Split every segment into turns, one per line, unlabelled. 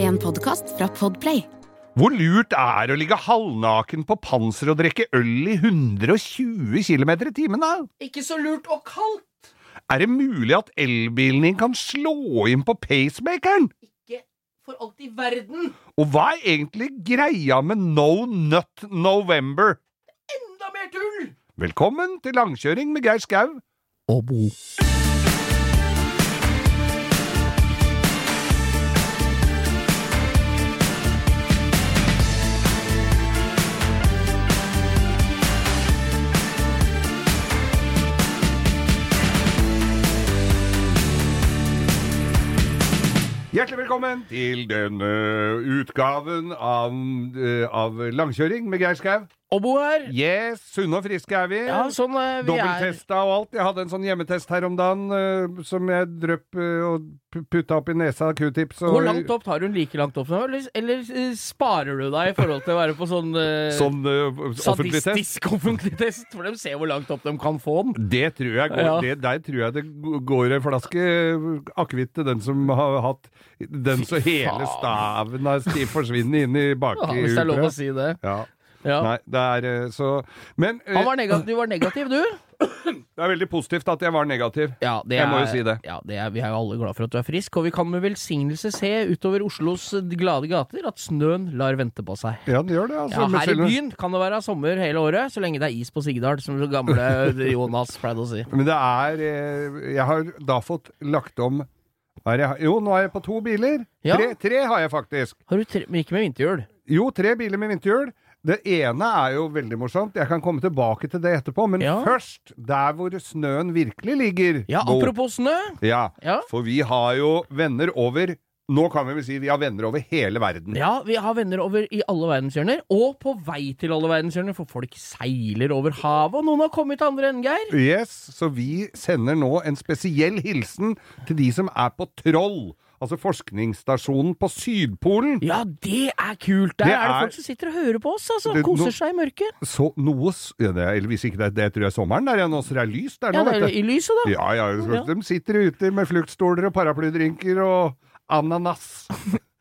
En podkast fra Podplay.
Hvor lurt er det å ligge halvnaken på panser og drikke øl i 120 km i timen, da?
Ikke så lurt og kaldt.
Er det mulig at elbilen din kan slå inn på pacemakeren?
Ikke for alt i verden.
Og hva er egentlig greia med No Nut November?
Enda mer tull!
Velkommen til langkjøring med Geir Skau. Og Bo. Hjertelig velkommen til denne utgaven av, eh, av Langkjøring med Geir Skau.
Obo her.
Yes, sunne og friske er vi.
Ja, sånn eh, vi er.
Dobbelttesta og alt. Jeg hadde en sånn hjemmetest her om dagen eh, som jeg drøpp eh, og pu- putta opp i nesa q-tips. og-
Hvor langt opp tar hun like langt opp nå, eller, eller eh, sparer du deg i forhold til å være på sånn, eh,
Sånn eh, offentlig test.
sadistisk offentlig test? For de ser hvor langt opp de kan få den.
Det tror jeg går,
Ja.
det, der tror jeg det g- går en flaske eh, akevitt til den som har hatt den så hele staven er stiv forsvinner inn i baki.
Ja, hvis det er lov å
huet.
si det.
Ja.
Ja.
Nei, det er eh, så Men eh,
Han var negativ, du var negativ, du?
det er veldig positivt at jeg var negativ.
Ja, det
Jeg må jo si det.
Ja, det er, vi er jo alle glad for at du er frisk, og vi kan med velsignelse se utover Oslos glade gater at snøen lar vente på seg.
Ja, den gjør det, altså.
Ja,
men
her i
selv om-
byen kan det være sommer hele året, så lenge det er is på Sigdal, som så gamle Jonas pleide å si.
Men det er eh, Jeg har da fått lagt om er jeg, Jo, nå er jeg på to biler.
Ja.
Tre, tre har jeg faktisk.
Har du tre, men ikke med vinterhjul?
Jo, tre biler med vinterhjul. Det ene er jo veldig morsomt. Jeg kan komme tilbake til det etterpå. Men
Ja.
først, der hvor snøen virkelig ligger.
Ja,
Bo.
apropos snø.
Ja,
Ja.
for vi har jo venner over Nå kan vi vel si vi har venner over hele verden.
Ja, vi har venner over i alle verdenshjørner, og på vei til alle verdenshjørner, for folk seiler over havet, og noen har kommet til andre enden, Geir.
Yes, så vi sender nå en spesiell hilsen til de som er på Troll. Altså forskningsstasjonen på Sydpolen.
Ja, det er kult! Der
Det
er det
er-
folk som sitter og hører på oss, altså.
Det-
Koser
nå-
seg i mørket.
Så noe s- ja, det er, Eller hvis ikke det, er- det tror jeg er sommeren der igjen, nå, så det er lyst der nå,
Ja, det er
vet du.
i lyset, da.
Ja, ja,
Ja.
de sitter ute med fluktstoler og paraplydrinker og ananas.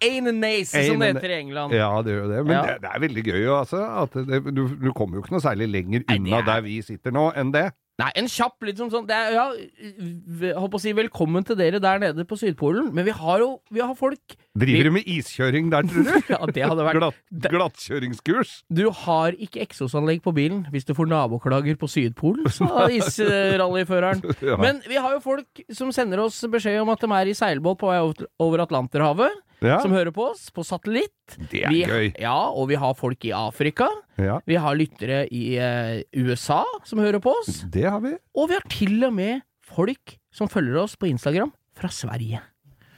Ananas, som det
Ananas.
heter i England.
Ja, det gjør det. Men
Ja.
det, det er veldig gøy, jo, altså. At det, du, du kommer jo ikke noe særlig lenger
Nei, det
unna
er-
der vi sitter nå, enn det.
Nei, en kjapp litt som sånn det er, Ja, v- holdt på å si velkommen til dere der nede på Sydpolen, men vi har jo vi har folk
Driver du med iskjøring der, tror du?
Ja, det hadde vært
Glatt, glattkjøringskurs?
Du har ikke eksosanlegg på bilen hvis du får naboklager på Sydpolen, sa israllyføreren.
Ja.
Men vi har jo folk som sender oss beskjed om at de er i seilbåt på vei over- over Atlanterhavet,
Ja,
som hører på oss på satellitt.
det er
vi,
gøy.
Ja, og vi har folk i Afrika.
Ja,
Vi har lyttere i eh, USA som hører på oss.
det har vi.
Og vi har til og med folk som følger oss på Instagram fra Sverige.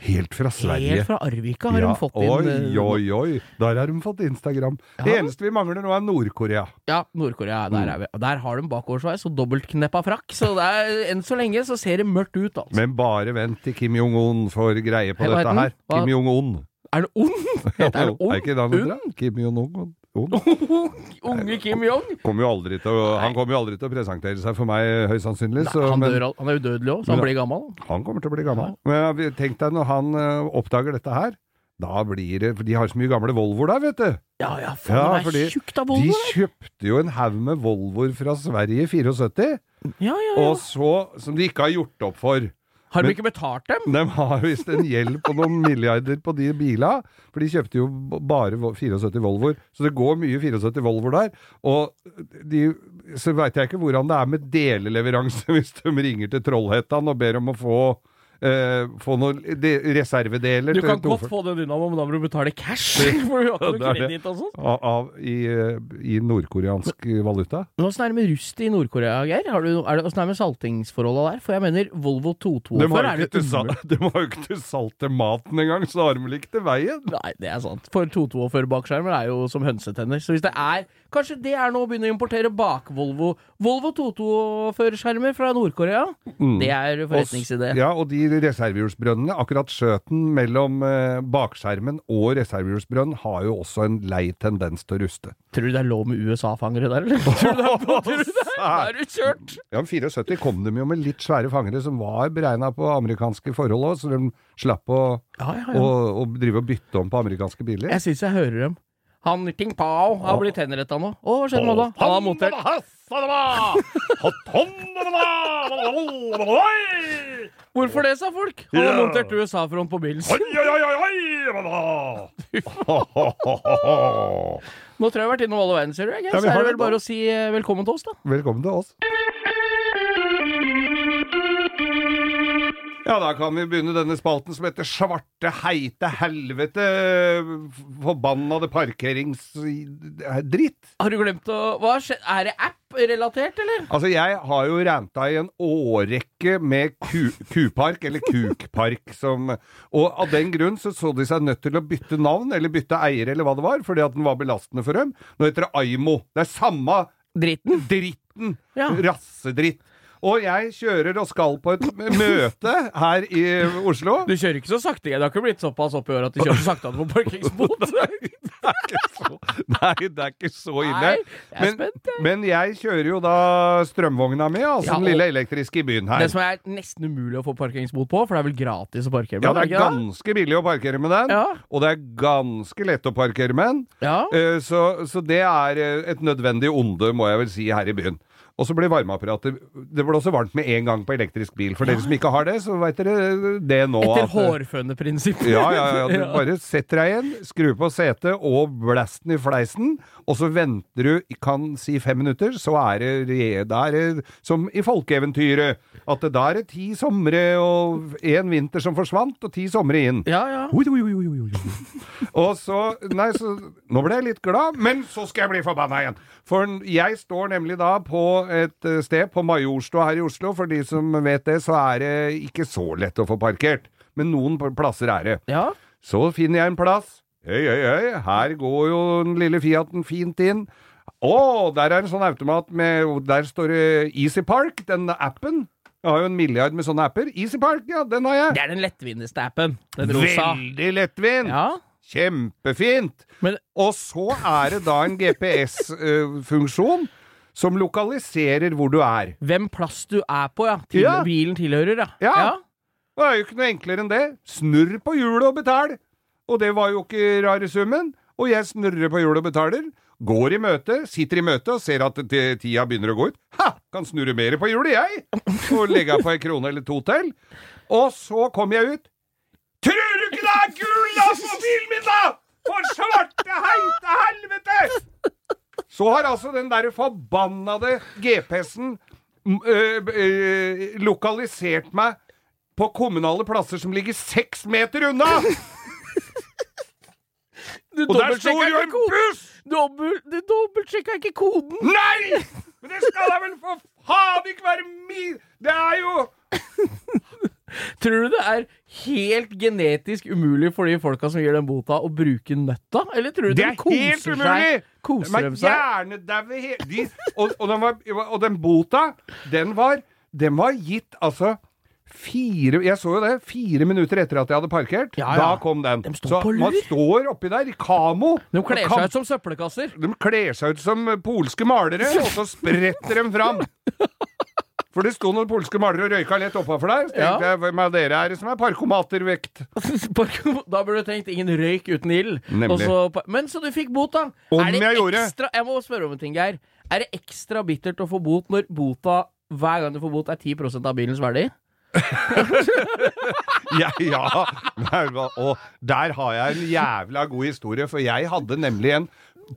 Helt fra Sverige.
Helt fra Arvika har
Ja,
de fått inn
Oi,
eh,
oi, oi. Der har de fått Instagram. Det
Ja.
eneste vi mangler nå, er Nord-Korea.
Ja, Nord-Korea.
Mm.
Der, er vi. Og der har de bakoversveis og dobbeltkneppa frakk. Så det er, enn så lenge så ser det mørkt ut, altså.
Men bare vent til Kim Jong-un får greie på
Hva
dette
heter
her.
den? Hva-
Kim Jong-un.
Er det ond? Heter han ond?
Er ikke det han heter? da? Kim Jong-un. Un.
Ond? Unge Kim Jong?
Kommer jo aldri til å, han kommer jo aldri til å presentere seg for meg, eh, høyst sannsynlig. Så,
han,
men
dør, al- han er udødelig òg, så han
Men-
blir gammel.
han kommer til å bli gammel. Men jeg- tenk deg når han eh, oppdager dette her. Da blir det For de har så mye gamle Volvoer der, vet du.
Ja ja, faen,
Ja,
han
fordi
er tjukt
De
av Volvo.
kjøpte jo en haug med Volvoer fra Sverige i 74,
Ja, ja, ja.
og så Som de ikke har gjort opp for.
Har de
men-
ikke betalt dem?
De har visst en gjeld på noen milliarder på de bila, for de kjøpte jo b- bare vo- 74 Volvoer, så det går mye 74 Volvoer der. Og de, så veit jeg ikke hvordan det er med deleleveranse hvis de ringer til Trollhättan og ber om å få, eh, få noen de, reservedeler
Du kan
til
godt
Nordfor-
få den dynamoen, men da må du betale cash. For du har ikke
Ja,
noe
det er det.
kreditt altså. og sånt.
av, av i, eh, i nordkoreansk valuta.
Men åssen er det med rust i Nord-Korea, Geir? Har du- er det- Åssen er det med saltingsforholda der? For jeg mener, Volvo 22
De har
er
jo
det
ikke til sal-
umulig.
de har jo ikke til salt til maten engang, så har de vel ikke til veien.
Nei, det er sant. For 242 bakskjermer er jo som hønsetenner. Så hvis det er Kanskje det er nå å begynne å importere bak-Volvo. Volvo 242-skjermer fra Nord-Korea. Det
Og
er
s-
forretningsidé.
Mm. Ja, og de i reservehjulsbrønnene. Akkurat skjøten mellom eh, bakskjermen og reservehjulsbrønnen har jo også en lei tendens til å ruste.
Tror du det er lov med USA-fangere der, eller? Tror du det er, tror du det? Da er du kjørt!
Ja, men 74 kom de jo med litt svære fangere som var beregna på amerikanske forhold òg, så de slapp å,
Ja, ja,
å,
ja.
å drive og bytte om på amerikanske biler.
Jeg syns jeg hører dem. Han Ting Pao har blitt henretta nå. Å, hva skjedde med han da? Han har montert Hvorfor det, sa folk? Han har
Ja.
montert USA-front på bilen sin. Nå tror jeg jeg har vært innom alle verdenshjørner, jeg.
Ja, vi
Så er
har
det
det da.
vel bare å si eh, velkommen til oss, da.
Velkommen til oss. Ja, da kan vi begynne denne spalten som heter Svarte heite helvete forbannede eh, parkeringsdritt.
Har du glemt å Hva skje- Er det app-relatert, eller?
Altså, jeg har jo ranta i en årrekke med ku, kupark, eller kukpark, som Og av den grunn så så de seg nødt til å bytte navn, eller bytte eier, eller hva det var, fordi at den var belastende for dem. Nå heter det Aimo. Det er samme
Dritten.
dritten.
Ja.
Rassedritt. Og jeg kjører og skal på et møte her i Oslo.
Du kjører ikke så sakte. Det har ikke blitt såpass opp i året at du kjører så sakte at du får parkeringsbot.
så, nei, det er ikke så ille.
Nei, jeg er spent,
men, men jeg kjører jo da strømvogna mi, altså
Ja,
den
og-
lille elektriske i byen her.
Det som er nesten umulig å få parkeringsbot på, for det er vel gratis å parkere
Ja,
med,
det er
ikke
ganske billig å parkere med den,
Ja.
og det er ganske lett å parkere med den.
Ja.
Eh, Så, så det er eh, et nødvendig onde, må jeg vel si, her i byen. Og så blir varmeapparatet Det blåser varmt med en gang på elektrisk bil. For dere som ikke har det, så veit dere det nå.
Etter
at- eh,
hårføneprinsippet.
Ja, ja, ja. Du
Ja.
bare setter deg igjen, skrur på setet og blasten i fleisen, og så venter du, kan si fem minutter, så er det, re- da er det som i folkeeventyret, at det- da er det ti somre og én vinter som forsvant, og ti somre inn.
Ja, ja.
Oi, oi, oi, oi, oi, oi. Og så Nei, så Nå ble jeg litt glad, men så skal jeg bli forbanna igjen. For jeg står nemlig da på et eh, sted på Majorstua her i Oslo. For de som vet det, så er det ikke så lett å få parkert. Men noen plasser er det.
ja.
Så finner jeg en plass. Øy, øy, øy, her går jo den lille Fiaten fint inn. Å, der er en sånn automat med og Der står det Easy Park, den appen. Jeg har jo en milliard med sånne apper. Easy Park, ja, den har jeg.
Det er den lettvinteste appen. Den rosa.
Veldig lettvint!
Ja.
Kjempefint!
Men
Og så er det da en GPS-funksjon eh, som lokaliserer hvor du er.
hvem plass du er på, ja. Til
Ja.
bilen tilhører, ja.
Ja. Det er jo ikke noe enklere enn det. Snurr på hjulet og betal! Og det var jo ikke rare summen. Og jeg snurrer på hjulet og betaler. Går i møte, sitter i møte og ser at t- tida begynner å gå ut. Ha! Kan snurre mer på hjulet, jeg! Og legge av på ei krone eller to til. Og så kommer jeg ut. Tror du ikke det er gul lapp på bilen min, da?! For svarte heite helvete! Så har altså den der forbannede GPS-en m- øh, b- øh, lokalisert meg på kommunale plasser som ligger seks meter unna!
Du
Og der står
dobbeltsjekka
jo
ikke
en
koden!
buss!
Dobbel, du dobbeltsjekka ikke koden!
Nei! Men det skal da vel for faen ikke være min Det er jo
Tror du det er helt genetisk umulig for de folka som gir den bota, å bruke nøtta? Eller tror du
Det
de
er
koser
helt umulig!
seg? Koser
De
de
er
seg?
hjernedaue he- de- og, og, den var- og den bota, den var, den var gitt altså Fire, jeg så jo det, fire minutter etter at jeg hadde parkert.
Ja, ja.
Da kom den.
De står
så
på lur.
man står oppi der i kamo.
De kler
Kam-
seg ut som søppelkasser.
De kler seg ut som polske malere, og så spretter de fram. For det sto noen polske malere og røyka lett oppafor der. Så tenkte jeg, hvem av dere er det som er parkomatervekt?
Park- da burde du tenkt 'ingen røyk uten ild'.
Nemlig.
Og så pa- men så du fikk bot, da.
Om
er det
jeg gjorde.
ekstra, jeg må spørre om en ting, Geir. Er det ekstra bittert å få bot når bota hver gang du får bot, er 10 av bilens verdi?
Ja, ja. Der var- Og der har jeg en jævla god historie, for jeg hadde nemlig en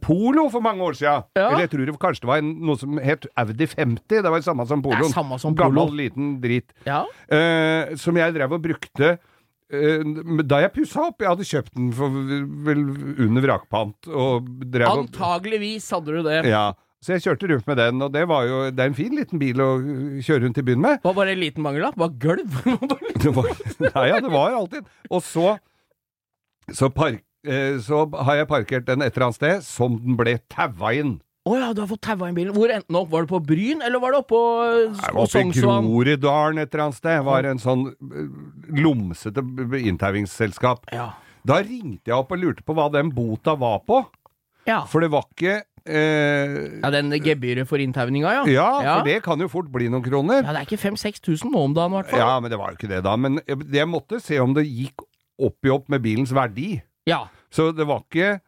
Polo for mange år siden.
Ja.
Eller jeg tror det kanskje det var en, noe som het Audi 50. Det var det samme som poloen.
samme som
Gammel,
Polo.
liten drit.
Ja.
eh, som jeg drev og brukte eh, da jeg pussa opp. Jeg hadde kjøpt den for vel under vrakpant. Og drev og
Antageligvis hadde du det. Det
ja. Så jeg kjørte rundt med den, og det var jo det er en fin liten bil å kjøre rundt i byen med.
var bare en liten mangel, da. Det Var gulv.
Det var, nei, ja, det var alltid. Og så så, park, eh, så har jeg parkert den et eller annet sted som den ble taua inn.
Å ja, du har fått taua inn bilen. Hvor endte den opp? Var det på Bryn, eller var det oppå
Jeg
eh,
var oppe i
Sognsvann?
Groruddalen et eller annet sted. Var en sånn eh, lomsete b- b- inntauingsselskap.
Ja.
Da ringte jeg opp og lurte på hva den bota var på.
Ja.
For det var ikke eh,
ja, den gebyret for inntauninga, ja.
ja,
ja.
for det kan jo fort bli noen kroner.
Ja, det er ikke 5000-6000 nå om dagen, i hvert fall.
Ja, men det var jo ikke det da. Men jeg- jeg måtte se om det gikk opp i opp med bilens verdi.
Ja.
Så det var ikke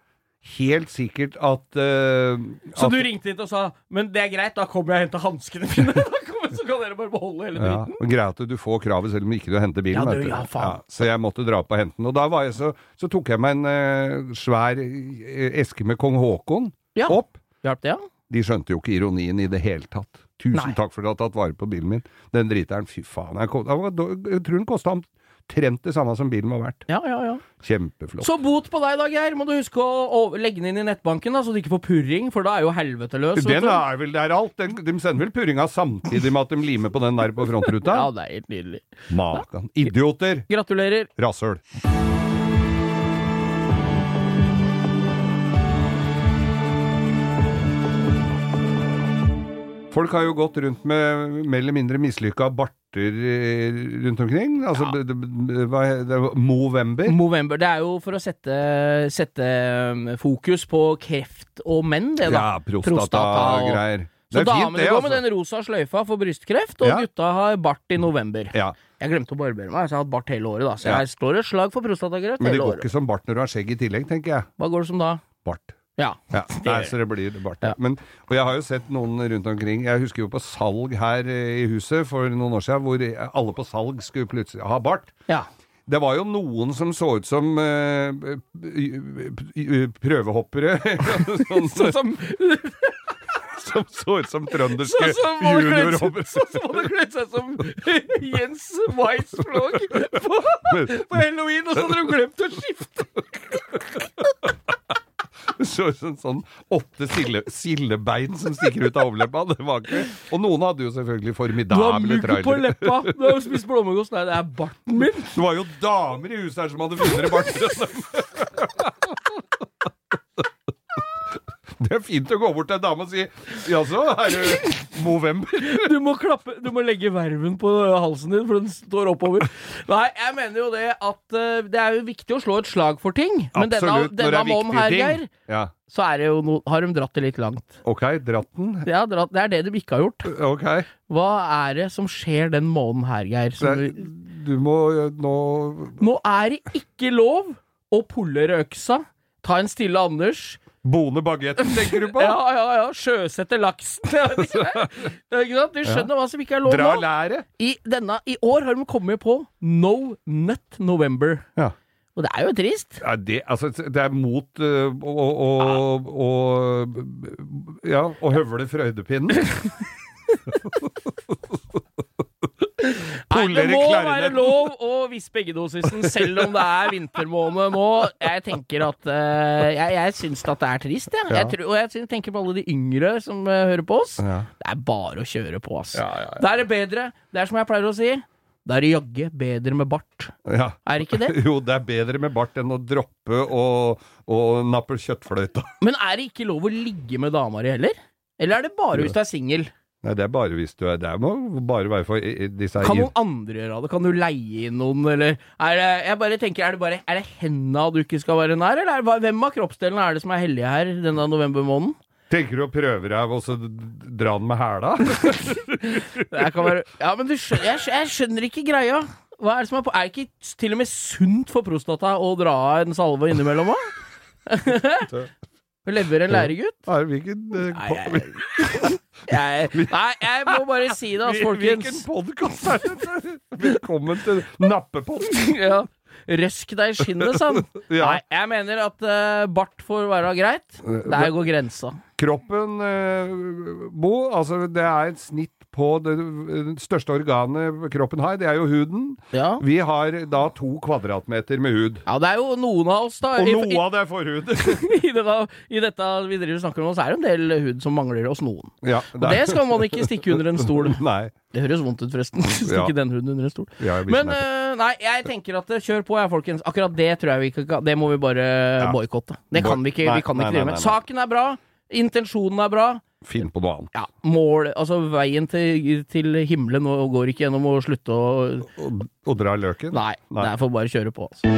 helt sikkert at eh,
Så
at-
du ringte hit og sa 'men det er greit, da kommer jeg og henter hanskene mine'. Da kommer, så kan dere bare beholde hele
Ja,
dritten.
og Greit at du får kravet selv om ikke du henter bilen.
Ja, du,
vet
ja, faen.
så jeg måtte dra opp og hente den. Og da var jeg så, så tok jeg meg en eh, svær eh, eske med kong Haakon
Ja.
opp.
Hjalp det, ja?
De skjønte jo ikke ironien i det hele tatt. Tusen
Nei.
takk for at du har tatt vare på bilen min. Den driteren, fy faen. Jeg, kom, jeg, jeg tror den kosta omtrent det samme som bilen var verdt.
Ja, ja, ja.
Kjempeflott.
Så bot på deg da, Geir. Må du huske å over- legge den inn i nettbanken, da, så du ikke får purring, for da er jo helvete løs. vet
den
du.
er vel der alt. Den, de sender vel purringa samtidig med at de limer på den der på frontruta?
Ja, det er helt nydelig.
Makan. Idioter!
Gratulerer.
Rasshøl. Folk har jo gått rundt med mer eller mindre mislykka barter eh, rundt omkring. Altså, b- b- b- hva he- det er Movember.
Movember. Det er jo for å sette, sette um, fokus på kreft og menn, det, da.
Ja,
Prostata og-
prostatagreier. Det
Så
er fint,
damene
det,
går
altså.
med den rosa sløyfa for brystkreft, og
Ja.
gutta har bart i november.
Ja,
Jeg glemte å barbere meg, så jeg har hatt bart hele året, da. Så
Ja.
jeg står et slag for prostatakreft
men det
hele
går
året.
ikke som bart når du har skjegg i tillegg, tenker jeg.
Hva går det som da?
Bart.
Ja.
Ja, nei, så det blir bart.
Ja.
Men, og jeg har jo sett noen rundt omkring. Jeg husker jo på salg her eh, i huset for noen år siden, hvor eh, alle på salg skulle plutselig ha bart.
ja.
Det var jo noen som så ut som eh, p- p- prøvehoppere. sånn,
Sånn som,
som så ut som trønderske
sånn som må det kledd seg-
juniorhoppere.
sånn som må det kledd seg som Jens Weissflog på, på halloween, og så hadde de glemt å skifte!
Så ut som sånn åtte sille, sillebein som stikker ut av overleppa. Det var ikke Og noen hadde jo selvfølgelig
Du har
formidable
mugg på
trailere.
leppa! Du har jo spist blåmuggost! Nei, det er barten min!
Det var jo damer i huset her som hadde finere barter enn dem. Det er fint å gå bort til en dame og si Jaså, er du Movember?
Du må, klappe, du må legge verven på halsen din, for den står oppover. Nei, jeg mener jo det at eh, det er jo viktig å slå et slag for ting. Men denne,
Absolutt, når det
denne
er
mannen
viktige
her,
ting.
Geir,
Ja.
så er det jo no, har de dratt det litt langt.
Ok, dratten.
Det er, dratt, det er det de ikke har gjort.
Ok.
Hva er det som skjer den måneden her, Geir?
Det,
Som, vi-
du må eh, nå
nå er det ikke lov å pullere øksa, ta en stille Anders
Bone bagetten, tenker du på?
Ja, ja, ja, sjøsette laksen. Ja, det er- det er ikke sant? Du skjønner hva som ikke er lov
Dra
nå?
læret.
I, denne, I år har de kommet på No Nut November.
Ja.
Og det er jo trist.
Ja, det, altså, det er mot eh, å, å, å, å Ja, å høvle frøydepinnen.
Nei, det
Polere
må være
klarinetten.
lov å vispe eggedosisen selv om det er vintermåned nå. Jeg tenker at eh, Jeg, jeg syns at det er trist, jeg. jeg
Ja.
tror, og jeg syns- tenker på alle de yngre som eh, hører på oss.
Ja.
Det er bare å kjøre på, ass.
Ja, ja, ja.
Da er det bedre. Det er som jeg pleier å si. Da er det jaggu bedre med bart.
Ja.
Er det ikke det?
Jo, det er bedre med bart enn å droppe og, og nappe kjøttfløyta.
Men er det ikke lov å ligge med dama di heller? Eller er det bare hvis du er singel?
Nei, det er bare hvis du er Det må bare være for i- i disse
Kan
i-
noen andre gjøre det? Kan du leie inn noen, eller er det, Jeg bare tenker, er det bare Er det henda du ikke skal være nær, eller er det, hva- hvem av kroppsdelene er det som er hellige her denne novembermåneden?
Tenker du å prøve deg og så d- dra den med hæla?
Jeg kan være Ja, men du skjønner, jeg, skjø- jeg skjønner ikke greia. Hva er det som er på Er det ikke s- til og med sunt for prostata å dra av en salve innimellom òg? Lever en læregutt?
Er, hvilken eh,
Nei,
po-
jeg, jeg, nei, jeg må bare si det, altså,
Hvilken
folkens.
podkast er dette? Velkommen til Nappepodden!
Ja. Røsk deg i skinnet, sann.
Ja.
Nei, jeg mener at eh, bart får være greit.
Eh,
Der går grensa.
Kroppen, eh, Bo, altså det er et snitt på det eh, største organet kroppen har, det er jo huden.
Ja.
Vi har da to kvadratmeter med hud.
Ja, det er jo noen av oss, da.
Og
I,
noe av det er forhud.
i, i, denne, I dette vi driver og snakker om, så er det en del hud som mangler hos noen.
Ja,
Og det skal man ikke stikke under en stol.
Nei.
Det høres vondt ut, forresten. Stikke
Ja.
den huden under en stol.
Ja, jeg blir
Men
sånn her.
eh, nei, jeg tenker at eh, kjør på, ja, folkens. Akkurat det tror jeg vi ikke kan Det må vi bare boikotte. Det
Boy-
kan vi ikke,
Nei,
vi kan
nei, nei,
ikke drive
nei,
med.
nei.
Saken er bra. Intensjonen er bra.
Finn på noe annet.
Ja, mål Altså, veien til, til himmelen og- går ikke gjennom å slutte å
Og, og dra løken?
Nei,
Nei.
det er for bare å kjøre på. Altså.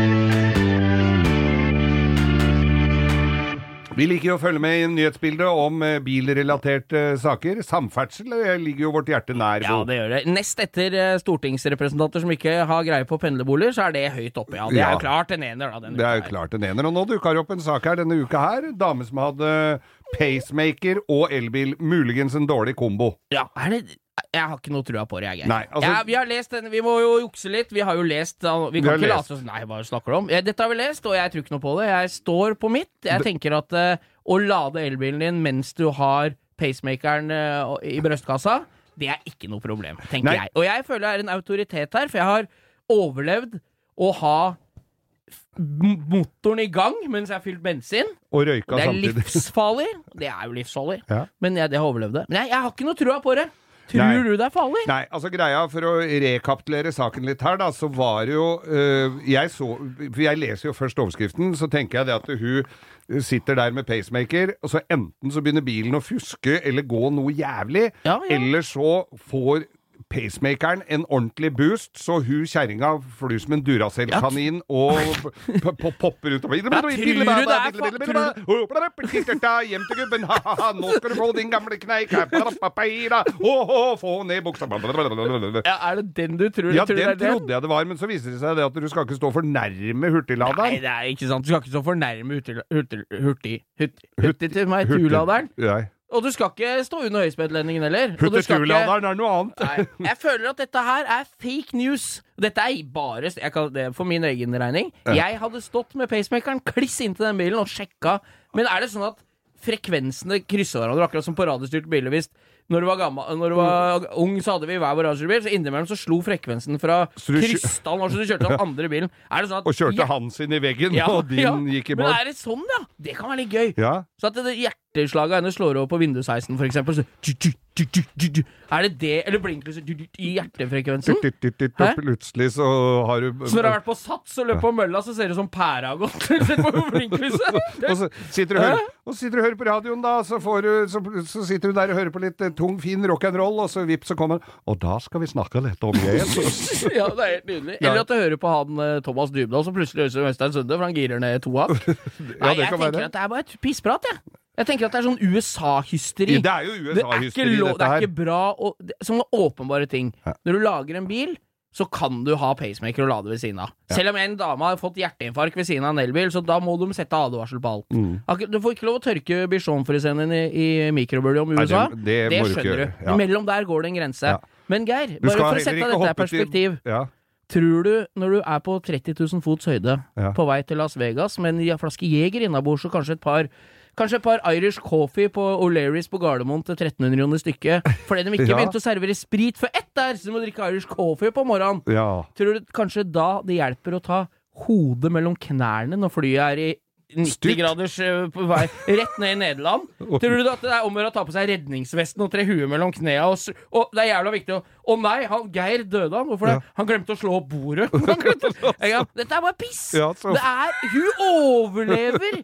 Vi liker jo å følge med i nyhetsbildet om eh, bilrelaterte eh, saker. Samferdsel eh, ligger jo vårt hjerte nær.
Ja,
Bo.
det gjør det. Nest etter eh, stortingsrepresentanter som ikke har greie på pendlerboliger, så er det høyt oppe, ja. Det er
Ja.
jo klart en ener, da. Den
Det er
uka
jo
her.
klart en ener. Og nå dukker det opp en sak her denne uka her. Dame som hadde eh, pacemaker og elbil. Muligens en dårlig kombo.
Ja, er det jeg har ikke noe trua på det, jeg. Geir.
Nei, altså-
ja, vi har lest den, vi må jo jukse litt. Vi har jo lest da- Vi kan
har
ikke
lest.
late som Nei, hva snakker du om? Eh, Dette har vi lest, og jeg tror ikke noe på det. Jeg står på mitt. Jeg tenker at eh, å lade elbilen din mens du har pacemakeren eh, og- i brystkassa, det er ikke noe problem, tenker
Nei.
jeg. Og jeg føler jeg er en autoritet her, for jeg har overlevd å ha f- m- motoren i gang mens jeg har fylt bensin.
Og røyka
Det er
samtidig.
livsfarlig. Det er jo livsfarlig.
Ja.
Men jeg, det har overlevd det. Men jeg, jeg har ikke noe trua på det. Tror
Nei.
du det er farlig?
Nei, altså greia For å rekapitulere saken litt her, da, så var det jo øh, Jeg så For jeg leser jo først overskriften, så tenker jeg det at hun sitter der med pacemaker, og så enten så begynner bilen å fuske eller gå noe jævlig,
Ja, ja.
eller så får Pacemakeren en ordentlig boost, så hun kjerringa flyr som en Duracell-kanin og p- p- popper ut og
Ja, tror du det er fa- tror
Hjem til gubben, ha-ha-ha, nå skal du få din gamle kneik. Åh, få ned buksa.
Ja, er det den du tror?
Ja,
tror du
den
det er
trodde jeg det var, men så viser det seg det at du skal ikke stå for nærme
Nei,
hurtigladeren.
det er ikke sant. Du skal ikke så fornærme hurtig- hurtig- hurtig- hurtig- hurtig til meg, turladeren.
Nei.
Og du skal ikke stå under høyspentledningen heller. Og du skal ikke-
Hurtigladeren er noe annet.
Nei, jeg føler at dette her er fake news. Dette er bare jeg kan, det er for min egen regning. Jeg hadde stått med pacemakeren kliss inntil den bilen og sjekka. Men er det sånn at frekvensene krysser hverandre, akkurat som på radiostyrte biler? Hvis når du var, gammel, når du var ung, så hadde vi hver vår radiostyrte bil, så innimellom så slo frekvensen fra
Så du kjø-
krysstall når så du kjørte den andre bilen. Er det sånn at
Og kjørte han sin i veggen,
Ja,
og din
ja.
gikk i
Men
mål.
er det sånn, ja? Det kan være litt gøy.
Ja.
Så at det- det hjerteslaget hennes slår over på vindusheisen, for eksempel. Så, tju, tju, tju, tju, tju, tju. Er det det? Eller blinklyset tju, tju, tju, i hjertefrekvensen?
Tut, tut, tut,
Hæ?
og Plutselig så har du
Så når du har vært på Sats og løpt på mølla, så ser det ut som pæra har gått Sett på blinklyset.
og så sitter du og hører, og sitter du og hører på radioen, da, så, får du, så, så sitter du der og hører på litt eh, tung, fin rock'n'roll, og så vips, så kommer han Og da skal vi snakke litt om det.
Ja, det er helt nydelig.
Ja.
Eller at du hører på han eh, Thomas Dybdahl som plutselig høres ut som Øystein Sunde, for han girer ned to hakk.
det
Nei, jeg
kan
tenker
være.
at det er bare et pissprat, jeg. Jeg tenker at det er sånn USA-hysteri.
Det er jo
Det er ikke,
USA-hysteri,
lov, det
dette
er
her.
ikke bra å- det- Sånne åpenbare ting. Når du lager en bil, så kan du ha pacemaker og lade ved siden av. Selv om en dame har fått hjerteinfarkt ved siden av en elbil, så da må de sette advarsel på alt.
Mm.
Akkur- Du får ikke lov å tørke bichonfrisen din i, i mikrobølge om
Nei,
USA.
det- det må du ikke
skjønner du.
gjøre, ja.
Imellom der går det en grense.
Ja.
Men Geir,
Du
bare
skal
for å
heller
sette
ikke
dette i
hoppe til-
perspektiv.
Ja.
Tror du, når du er på 30 000 fots høyde
Ja.
på vei til Las Vegas med en flaske Jeger innabords og kanskje et par Kanskje et par Irish coffee på O'Learys på Gardermoen til 1300 kroner stykket fordi de ikke
Ja.
begynte å servere sprit før ett der, så du må drikke Irish coffee på morgenen.
ja.
Tror du kanskje da det hjelper å ta hodet mellom knærne når flyet er i 90
Styrt.
graders eh, på vei rett ned i Nederland? Tror du at det er om å gjøre å ta på seg redningsvesten og tre huer mellom knea og, s- og Det er jævla viktig å Å nei, han, Geir døde han. Hvorfor det?
Ja.
Han glemte å slå opp bordet. Han glemte å, ja, dette er bare piss!
Ja, så-
det er Hun overlever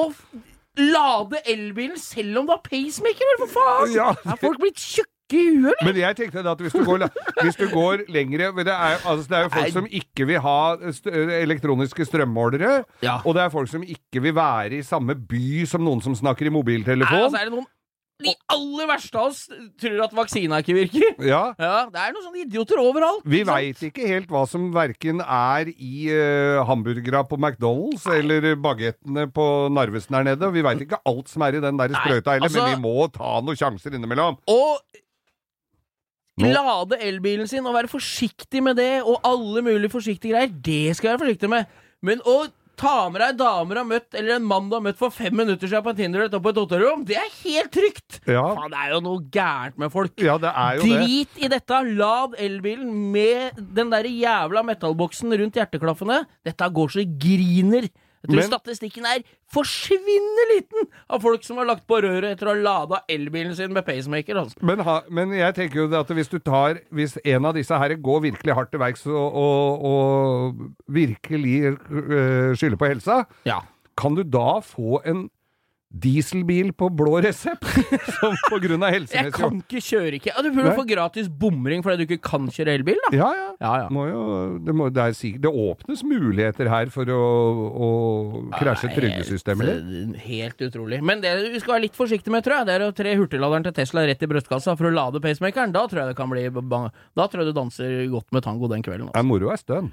å f- lade elbilen selv om du har pacemaker, eller for faen!
Ja.
Er folk blitt tjukke i huet, eller?
Men jeg tenkte da at hvis du går, la- hvis du går lengre men det er, altså, det er jo folk som ikke vil ha eh, st elektroniske strømmålere,
Ja.
og det er folk som ikke vil være i samme by som noen som snakker i
Nei,
mobiltelefon.
altså, er det noen De aller verste av oss tror at vaksina ikke virker.
Ja.
Ja, Det er noen sånne idioter overalt. liksom.
Vi
ikke sant?
veit ikke helt hva som verken er i uh, hamburgera på McDonald's eller bagettene på Narvesen her nede. og Vi veit ikke alt som er i den der sprøyta heller,
altså-
men vi må ta noen sjanser innimellom.
Og
Nå-
lade elbilen sin og være forsiktig med det, og alle mulige forsiktige greier, det skal jeg være forsiktig med. Men å ta med deg damer du har møtt, eller en mann du har møtt for fem minutter siden på en Tinder eller på et hotellrom, det er helt trygt!
Ja,
Faen, det er jo noe gærent med folk.
ja det er jo det.
Drit i dette! Lad elbilen med den der jævla metallboksen rundt hjerteklaffene. Dette går så det griner. Jeg tror
Men-
statistikken er forsvinnende liten av folk som har lagt på røret etter å ha lada elbilen sin med pacemaker. Altså.
Men, ha, men jeg tenker jo det at hvis du tar Hvis en av disse her går virkelig hardt til verks og, og, og virkelig øh, skylder på helsa,
Ja.
kan du da få en dieselbil på blå resept, som på grunn av
Jeg
helsemessig
kan ikke kjøre ikke ja, Du burde
Nei.
få gratis bomring fordi du ikke kan kjøre elbil, da.
Ja, ja.
Ja, ja.
Må jo, det, må, det, er sikkert, det åpnes muligheter her for å, å krasje
Nei,
trygdesystemet ditt.
helt, helt utrolig. Men det vi skal være litt forsiktige med, tror jeg, det er å tre hurtigladeren til Tesla rett i brystkassa for å lade pacemakeren. Da tror jeg det kan bli bang. Da tror jeg du danser godt med tango den kvelden.
Ja,
Altså.
moro er stønn.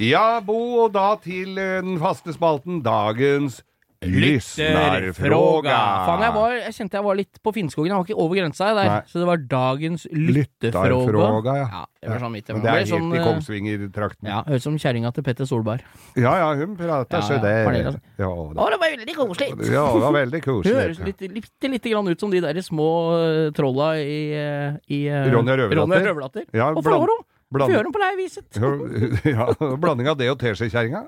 Ja, Bo, og da til eh, den faste spalten Dagens lyssnarfråga.
Faen, jeg, var, jeg kjente jeg var litt på Finnskogen. Jeg var ikke over grensa jeg, der.
Nei.
Så det var dagens lyttefråga.
Lytterfråga, ja.
Ja, det var sånn midt i
Men det er
Det ble
helt
sånn,
i
eh,
Kongsvinger-trakten.
Ja, Høres ut som kjerringa til Petter Solberg.
Ja, ja, hun prater
Ja,
så
ja,
det.
Pernille.
Ja,
Å,
da.
det var veldig koselig!
ja, det var veldig
Høres
koselig.
litt, litt, litt grann ut som de der små eh, trolla i, eh, i eh,
Ronja Røverdatter.
Ronja Røverdatter.
Ja,
og
bland-
Flårom!
bland-
Fjørum på leiviset.
Ja, blanding av det og teskjekjerringa.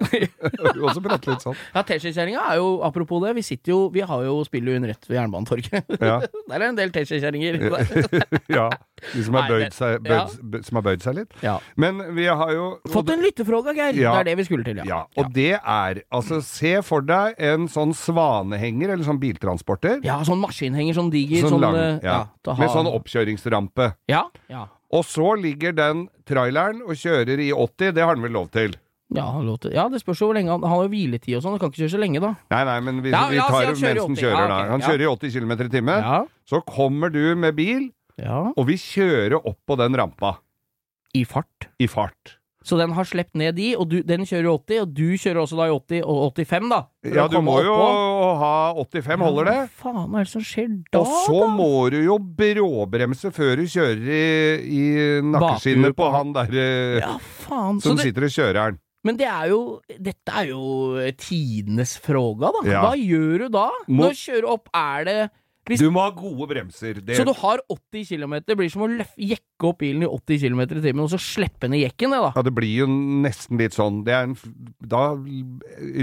Også prate litt sånn.
Ja, Teskjekjerringa er jo, apropos det, vi sitter jo Vi har jo spiller jo hun rett ved Jernbanetorget.
Ja.
Der er en del teskjekjerringer.
ja. De som har
Nei,
bøyd seg,
ja.
bøyd, bøyd, som har bøyd seg litt.
Ja.
Men vi har jo
Fått en lyttefråga, Geir!
Ja.
Det er det vi skulle til, ja.
Ja, og det er Altså, se for deg en sånn svanehenger, eller sånn biltransporter.
Ja, sånn maskinhenger, sånn diger.
Sånn lang.
eh,
Ja.
til å ha-
Med sånn oppkjøringsrampe.
Ja, ja.
Og så ligger den traileren og kjører i 80, det har den vel lov til?
Ja, han låter- ja, det spørs jo hvor lenge han, han har jo hviletid og sånn, han kan ikke kjøre så lenge, da.
Nei, nei, men vi,
Ja,
vi
ja, si
tar
han
mens
kjører i
den
80,
kjører
ja,
da.
ok,
Han
ja.
kjører i 80 km i timen.
Ja.
Så kommer du med bil,
ja.
og vi kjører opp på den rampa
I fart.
i fart.
Så den har slept ned de, og du, den kjører i 80, og du kjører også da i 80 og 85, da. for
Ja,
å
du
komme
må
opp
jo
på.
ha 85, holder det?
Ja, Hva faen hva er det som skjer da,
Og så
da?
må du jo bråbremse før du kjører i, i nakkeskinnet
Bakhjulet
på han der eh,
Ja, faen. Så
som
det,
sitter og kjører den.
men det er jo Dette er jo tidenes fråga, da.
Ja.
Hva gjør du da?
Må-
Når du kjører opp, er det Hvis-
Du må ha gode bremser. Det,
Så du har 80 km, det blir som å løf, jekke opp bilen i 80 km i timen, og så slippe ned jekken, det, da.
ja, det blir jo nesten litt sånn. Det er en, f- da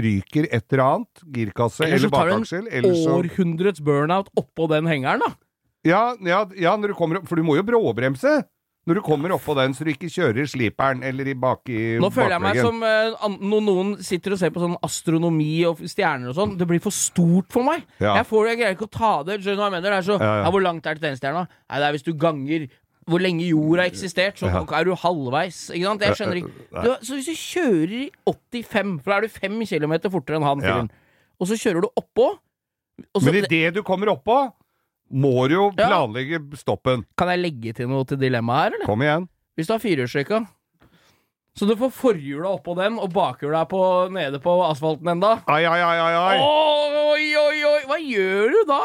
ryker et eller annet. Girkasse
Eller så
eller
tar du en
bakaksel. Eller så
Århundrets burnout oppå den hengeren, da.
ja, ja, ja, når du kommer opp For du må jo bråbremse når du kommer oppå den, så du ikke kjører i sliperen eller i bak i
Nå føler jeg meg
bakveggen.
som eh, an- når noen sitter og ser på sånn astronomi og f- stjerner og sånn. Det blir for stort for meg.
Ja.
Jeg, får, jeg greier ikke å ta det. Skjønner du hva jeg mener? Det er så, ja,
Ja, ja.
Hvor langt er det til den stjerna? Nei, det er hvis du ganger hvor lenge jorda har eksistert, så
Ja.
er du halvveis. Ikke sant? Jeg skjønner ikke.
Nei.
Du, så hvis du kjører i 85, for da er du 5 km fortere enn han
Ja.
fyren, og så kjører du oppå og så
Men idet du kommer oppå, må du jo
Ja.
planlegge stoppen.
Kan jeg legge til noe til dilemmaet her, eller?
Kom igjen.
Hvis du har firehjulstrekka. Så du får forhjula oppå den, og bakhjula er på, nede på asfalten enda.
Ai, ai, ai, ai, ai.
Oi, oi, oi! Hva gjør du da?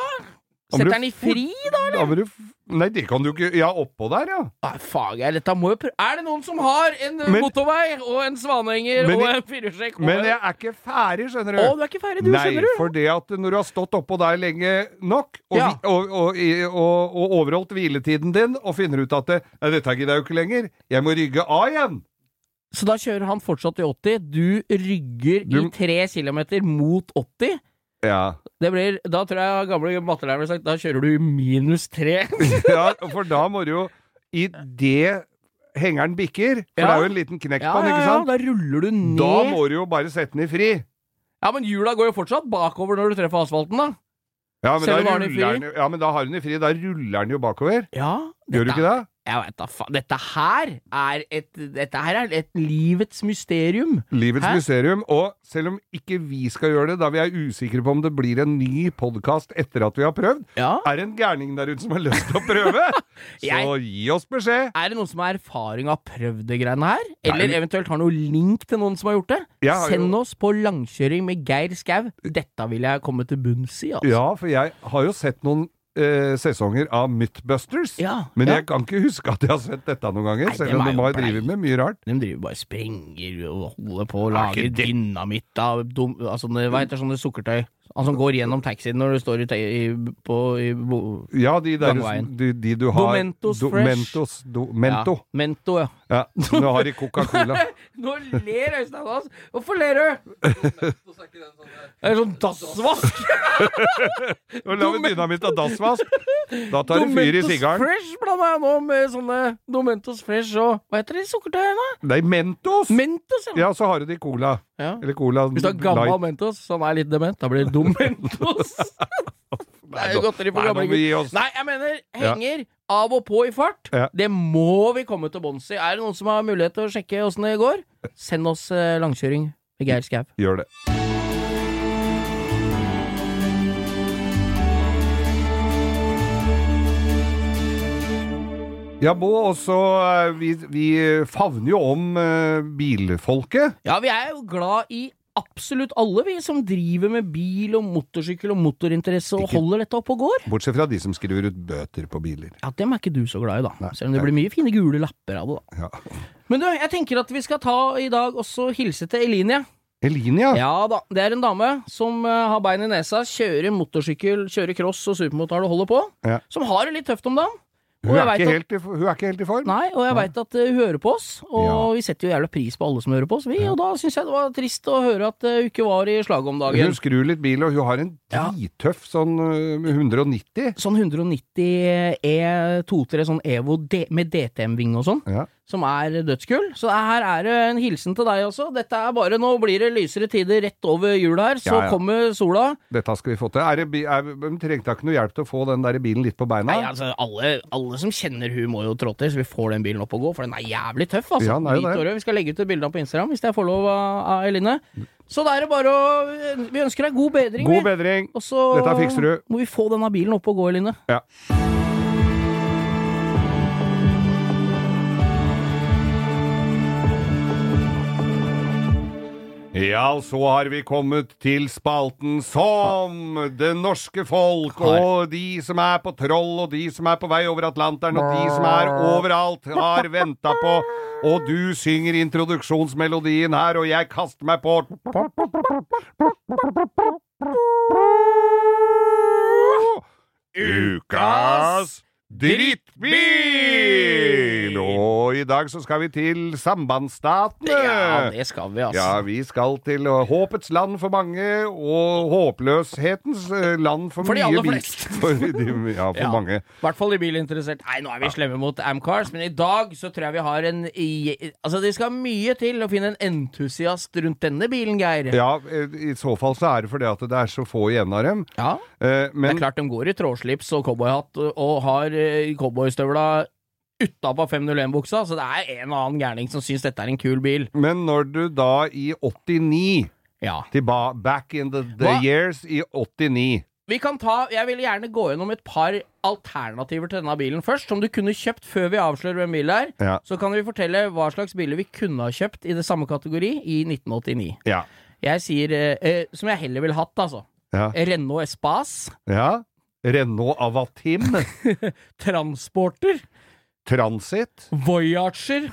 Da blir du
Setter den i
fort-
fri, da?
Da må du f- Nei, det kan du ikke Ja, oppå der, ja.
Nei, faen, jeg, dette må jo prø- Er det noen som har en eh,
Men-
motorvei og en svanehenger
Men
og
jeg-
en firehjulstrekk? og
Men
en-
jeg er ikke ferdig, skjønner du.
Å, du er ikke ferdig, du,
Nei,
skjønner du?
for det at når du har stått oppå der lenge nok, og,
Ja.
vi- og, og, i- og, og overholdt hviletiden din, og finner ut at det, Nei, dette gidder jeg jo ikke lenger, jeg må rygge av igjen.
Så da kjører han fortsatt i 80. Du rygger
Du-
i 3 km mot 80.
Ja.
Det blir, da tror jeg gamle mattelæreren ville sagt da kjører du i minus 3.
ja, for da må du jo I det hengeren bikker, for
Ja.
det er jo en liten knekk på den, ikke sant?
da ruller du ned.
Da må du jo bare sette den i fri.
Ja, men hjula går jo fortsatt bakover når du treffer asfalten, da.
Ja, men, da
Selv om du har den i
ruller
fri?
den, jo- ja, men da har hun i fri. Da ruller den jo bakover.
Ja,
Gjør du ikke det?
Jeg vet da faen. Dette her er et Dette her er et livets mysterium.
Livets
Hæ?
mysterium. Og selv om ikke vi skal gjøre det, da vi er usikre på om det blir en ny podkast etter at vi har prøvd,
Ja.
er det en gærning der ute som har lyst til å prøve, så
Jeg-
gi oss beskjed.
Er det noen som har erfaring av prøvd det greiene her?
Nei,
Eller
men-
eventuelt har noe link til noen som har gjort det?
Jeg har jo-
Send oss på langkjøring med Geir Skau. Dette vil jeg komme til bunns i, altså.
Ja, for jeg har jo sett noen eh, sesonger av Mythbusters,
Ja,
men
ja.
jeg kan ikke huske at jeg har sett dette noen ganger,
Nei,
selv
dem
om
er
de
jo
har
blei.
drevet med mye rart.
De driver bare og sprenger og holder på og
Er ikke
lager
det-
dynamitt av dum, av sånne, hva heter sånne sukkertøy? Han som går gjennom taxien når du står i, ta- i, på, i bo,
Ja, de der
Gangveien.
de, de du har
Domentos
Do-
Fresh.
Mentos, do, Mento.
Ja, Mento, ja.
Ja. Du har i Coca-Cola.
Nå ler Øystein av oss. Hvorfor ler du? Det er sånn dassvask.
Og lager dynamitt av dassvask. Da tar det fyr i
Domentos
sigaren.
Fresh, blant han er nå med sånne Domentos Fresh og Hva heter de sukkertøyene?
Nei, Mentos!
Mentos,
ja, så har du det i cola.
ja.
Eller cola
Hvis du har gammel
light.
Mentos, som er litt dement, da blir det dum Mentos. det er jo godteri for
Nei, nå
gamle
må vi
gutter.
gi oss.
Nei, jeg mener henger av og på i fart.
Ja.
Det må vi komme til bunns i. Er det noen som har mulighet til å sjekke åssen det går? Send oss eh, langkjøring med Geir Skau.
Gjør det. Ja, Bo, også eh, vi, vi favner jo om eh, bilfolket.
Ja, vi er jo glad i absolutt alle, vi som driver med bil og motorsykkel og motorinteresse og
Ikke-
holder dette oppe og går.
Bortsett fra de som skriver ut bøter på biler.
Ja, dem er ikke du så glad i, da.
Nei,
Selv om det blir mye fine gule lapper av det, da.
Ja.
Men du, jeg tenker at vi skal ta i dag også hilse til Eline, jeg.
Eline, ja.
Ja da, det er en dame som eh, har bein i nesa, kjører motorsykkel, kjører cross og supermotard og holder på.
Ja.
Som har det litt tøft om dagen.
Hun,
Og jeg
er
vet
ikke
at-
helt i, hun er ikke helt i form.
Nei, og jeg veit at eh, hun hører på oss, og
Ja.
vi setter jo jævla pris på alle som hører på oss, vi. Og da syns jeg det var trist å høre at eh, hun ikke var i slaget om dagen.
Hun skrur litt bil, og hun har en
Ja.
drittøff sånn eh, 190.
Sånn 190 E23, E, sånn EVO D med DTM-ving og sånn,
Ja.
som er dødskull. Så her er det en hilsen til deg også. Dette er bare Nå blir det lysere tider rett over jul her, så
Ja, ja.
kommer sola.
Dette skal vi få til. Er det, bi- er, men trengte hun ikke noe hjelp til å få den der bilen litt på beina?
Nei, altså, alle, alle som kjenner hun må jo trå til, så vi får den bilen opp og gå, for den er jævlig tøff, altså.
Ja, den er jo
Hvit
det.
og rød. Vi skal legge ut et bilde av på Instagram, hvis jeg får lov av av Eline. Så da er det bare å Vi ønsker deg god bedring,
God
vi.
bedring!
Og så
Dette fikser du.
må vi få denne bilen opp og gå, Eline.
Ja. Ja, så har vi kommet til spalten som det norske folk og de som er på Troll og de som er på vei over Atlanteren og de som er overalt har venta på. Og du synger introduksjonsmelodien her, og jeg kaster meg på. Ukas drittbil! Og i dag så skal vi til sambandsstatene.
Ja, det skal vi, altså.
Ja, vi skal til eh, håpets land for mange, og håpløshetens eh, land for,
For de
mye
aller
bil-
flest.
for de, ja, for
Ja.
mange.
I hvert fall de bilinteressert. Nei, nå er vi slemme mot Amcars, men i dag så tror jeg vi har en i- Altså, det skal mye til å finne en entusiast rundt denne bilen, Geir.
Ja, eh, i så fall så er det fordi at det er så få igjen av dem.
Ja,
Eh,
Det
Men
er klart de går i trådslips og cowboyhatt og- og har eh, cowboystøvla utapå 501-buksa, så det er en og annen gærning som syns dette er en kul bil.
Men når du da i 89
Ja.
tilba, Back in the, the
Hva?
years i 89
Vi kan ta, Jeg vil gjerne gå gjennom et par alternativer til denne bilen først, som du kunne kjøpt før vi avslører hvem bilen er.
Ja.
Så kan vi fortelle hva slags biler vi kunne ha kjøpt i det samme kategori i 1989.
Ja.
Jeg sier eh, eh, som jeg heller ville hatt, altså.
ja.
Renault Espace,
ja. Renault Avatim.
Transporter,
Transit. eh,
Voyager,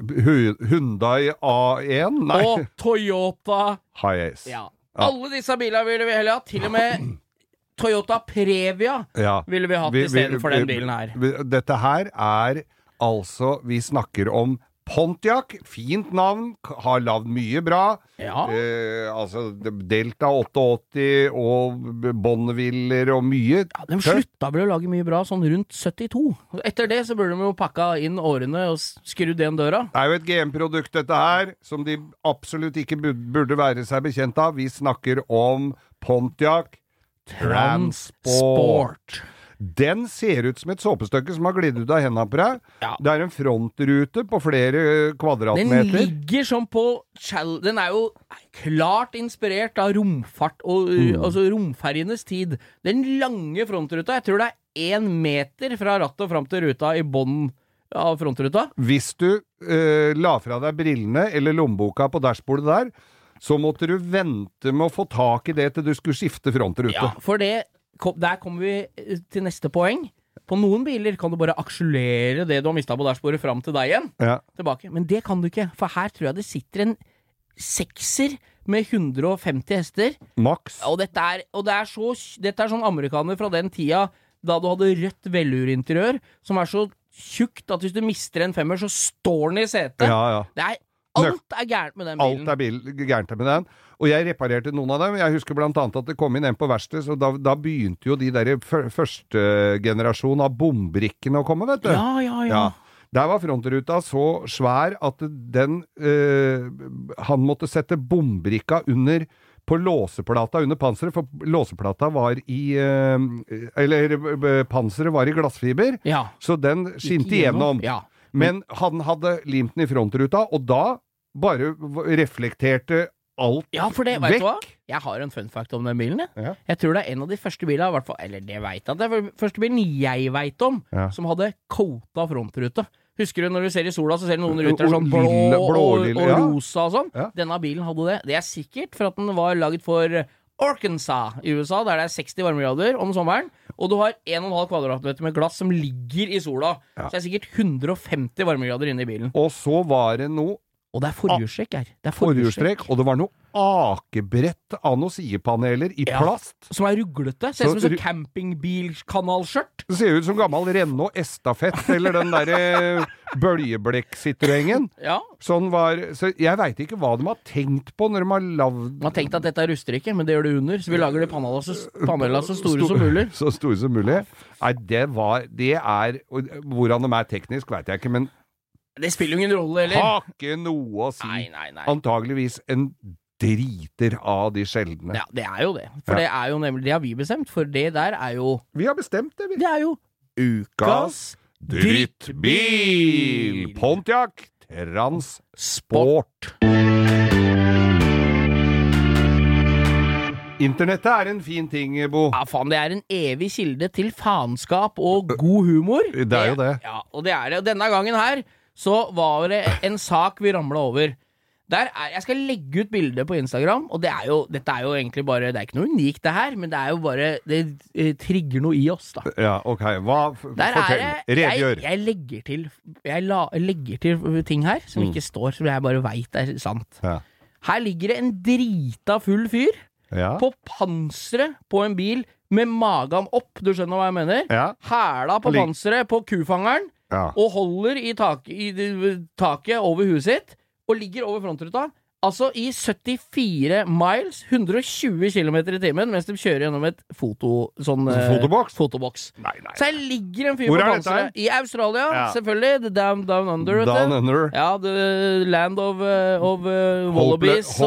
Hundai A1. Nei,
og Toyota.
Hiace.
Ja. Alle disse bilene ville vi heller hatt. Til og med Toyota Previa
Ja.
ville vi hatt
Vi- vi-
istedenfor den
vi-
bilen her.
vi- Dette her er altså Vi snakker om Pontiac. Fint navn. k- Har lagd mye bra.
Ja.
Eh, altså de- Delta 88 og b- Bonneviller og mye.
Ja, de slutta vel å lage mye bra sånn rundt 72. Etter det så burde de jo pakka inn årene og s- skrudd igjen døra.
Det er jo et GM-produkt, dette her, som de absolutt ikke bud- burde være seg bekjent av. Vi snakker om Pontiac Transport.
Transport.
Den ser ut som et såpestykke som har glidd ut av hendene på deg.
Ja.
Det er en frontrute på flere eh,
Den
kvadratmeter.
ligger som på chal- Den er jo klart inspirert av romfart og uh, altså romferjenes tid. Den lange frontruta, jeg tror det er én meter fra rattet og fram til ruta i bånn av frontruta.
Hvis du eh, la fra deg brillene eller lommeboka på dashbordet der, så måtte du vente med å få tak i det til du skulle skifte frontrute.
Ja, for det kom- Der kommer vi eh, til neste poeng. På noen biler kan du bare aksjelere det du har mista på dashbordet, fram til deg igjen.
Ja.
Tilbake. Men det kan du ikke, for her tror jeg det sitter en sekser med 150 hester.
Maks.
Og dette er, og det er, så, dette er sånn amerikaner fra den tida da du hadde rødt velurinteriør, som er så tjukt at hvis du mister en femmer, så står den i setet.
Ja, ja.
Det er Alt er gærent med den
Alt
bilen.
er bil- gærent med den. Og jeg reparerte noen av dem. Jeg husker blant annet at det kom inn en på verkstedet, så da, da begynte jo de der fø- første generasjon av bombrikkene å komme, vet du.
ja, ja, ja.
Ja. Der var frontruta så svær at den eh, Han måtte sette bombrikka under på låseplata under panseret, for låseplata var i eh, Eller eh, panseret var i glassfiber,
Ja.
så den skinte
Ikke
igjennom.
Ja.
Men han hadde limt den i frontruta, og da bare v- reflekterte alt
Ja, for det, vet du hva?
Vekk.
Jeg har en fun fact om den bilen. Jeg,
Ja.
jeg tror det er en av de første bilene, i hvert fall, eller det vet jeg, det er den første bilen jeg veit om,
Ja.
som hadde coata frontrute. Husker du når du ser i sola, så ser du noen
Og-
ruter
og
sånn blå
lille-
og,
blålille,
og
ja.
rosa og sånn?
Ja.
Denne bilen hadde det. Det er sikkert for at den var laget for eh, Arkansas i USA, der det er 60 varmegrader om sommeren, og du har 1,5 kvadratmeter med glass som ligger i sola. Så det er sikkert 150 varmegrader inne i bilen.
Og så var det noe
Og det er forhjulstrekk her. Det er
forhjulstrekk, og det var noe akebrett av noen sidepaneler i
Ja.
plast.
som er ruglete. Ser ut som
Så
et
ru-
sånt campingbilkanalskjørt.
Det ser ut som gammel Renault Estafett eller den derre bøljeblekk-situengen.
Ja.
Sånn var Så jeg veit ikke hva de har tenkt på når de har lagd
Man har tenkt at dette er rusterike, men det gjør det under. Så vi lager de panela så, panela så store
Sto-
som mulig.
Så store som mulig. Nei, det var Det er og Hvordan de er teknisk, veit jeg ikke, men
Det spiller jo ingen rolle, eller?
har ikke noe å si.
Nei, nei, nei.
Antageligvis en driter av de sjeldne.
Ja, det er jo det. For
Ja.
det er jo nemlig Det har vi bestemt, for det der er jo
Vi har bestemt det, vi.
Det er jo
Ukas
gass,
drittbil! Pontiac Transport.
sport.
Internettet er en fin ting, Bo.
Ja, faen, det er en evig kilde til faenskap og god humor.
Det er jo det.
Ja, og det er det. Og denne gangen her så var det en sak vi ramla over. Der er, jeg skal legge ut bilde på Instagram, og det er jo, dette er jo egentlig bare Det er ikke noe unikt, det her, men det er jo bare Det eh, trigger noe i oss, da.
Ja, ok. Hva f-
Der
Fortell.
er det jeg,
Redegjør.
jeg legger til Jeg la, legger til ting her
Mm.
som ikke står, som jeg bare veit er sant.
Ja.
Her ligger det en drita full fyr
Ja.
på panseret på en bil med magen opp, du skjønner hva jeg mener?
ja.
Hæla på
Lik-
panseret på kufangeren
ja.
og holder i, tak, i d- taket over huet sitt og ligger over frontruta. Altså i 74 miles, 120 km i timen, mens de kjører gjennom et foto... Sånn, eh,
Altså Fotoboks?
fotoboks.
Nei, nei.
Så her ligger en fyr
Hvor er
på
dette
panseret. I Australia,
Ja.
selvfølgelig. The Down, down Under, vet
Down
du.
under.
Ja, the land of, eh, of eh, wallabies
Hopele- ho-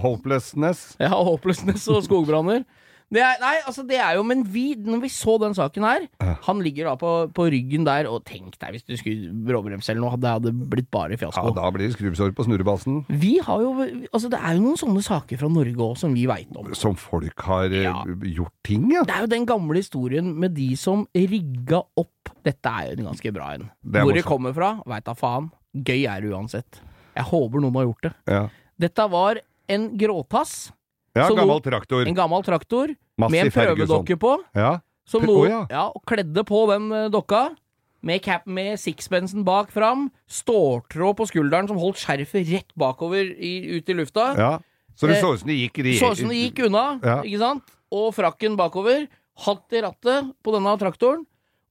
ho- hopelessness.
ja, håpløsnes og skogbranner. Det er, nei, altså det er jo, men vi, når vi så den saken her Han ligger da på, på ryggen der, og tenk deg hvis du skulle bråbremse eller noe, det hadde blitt bare
Ja,
fiasko.
da blir det skrubbsår på snurrebassen.
vi har jo, altså Det er jo noen sånne saker fra Norge òg som vi veit om.
Som folk har eh,
Ja.
gjort ting, ja.
Det er jo den gamle historien med de som rigga opp Dette er jo en ganske bra en.
Det er
Hvor
morsomt.
det kommer fra, veit da faen. Gøy er det uansett. Jeg håper noen har gjort det.
Ja,
Dette var en gråtass,
ja
Så
gammel
nå-
traktor.
en gammel traktor, med
Massiv
en prøvedokke på.
sånn. Ja.
Som
Å,
noe, ja.
ja.
og kledde på den eh, dokka, med, cap, med sixpensen bak fram, ståltråd på skulderen som holdt skjerfet rett bakover i, ut i lufta.
ja. Så det
Eh,
så ut som det gikk i
Så ut som det gikk unna,
Ja.
ikke sant? Og frakken bakover. Hatt i rattet på denne traktoren.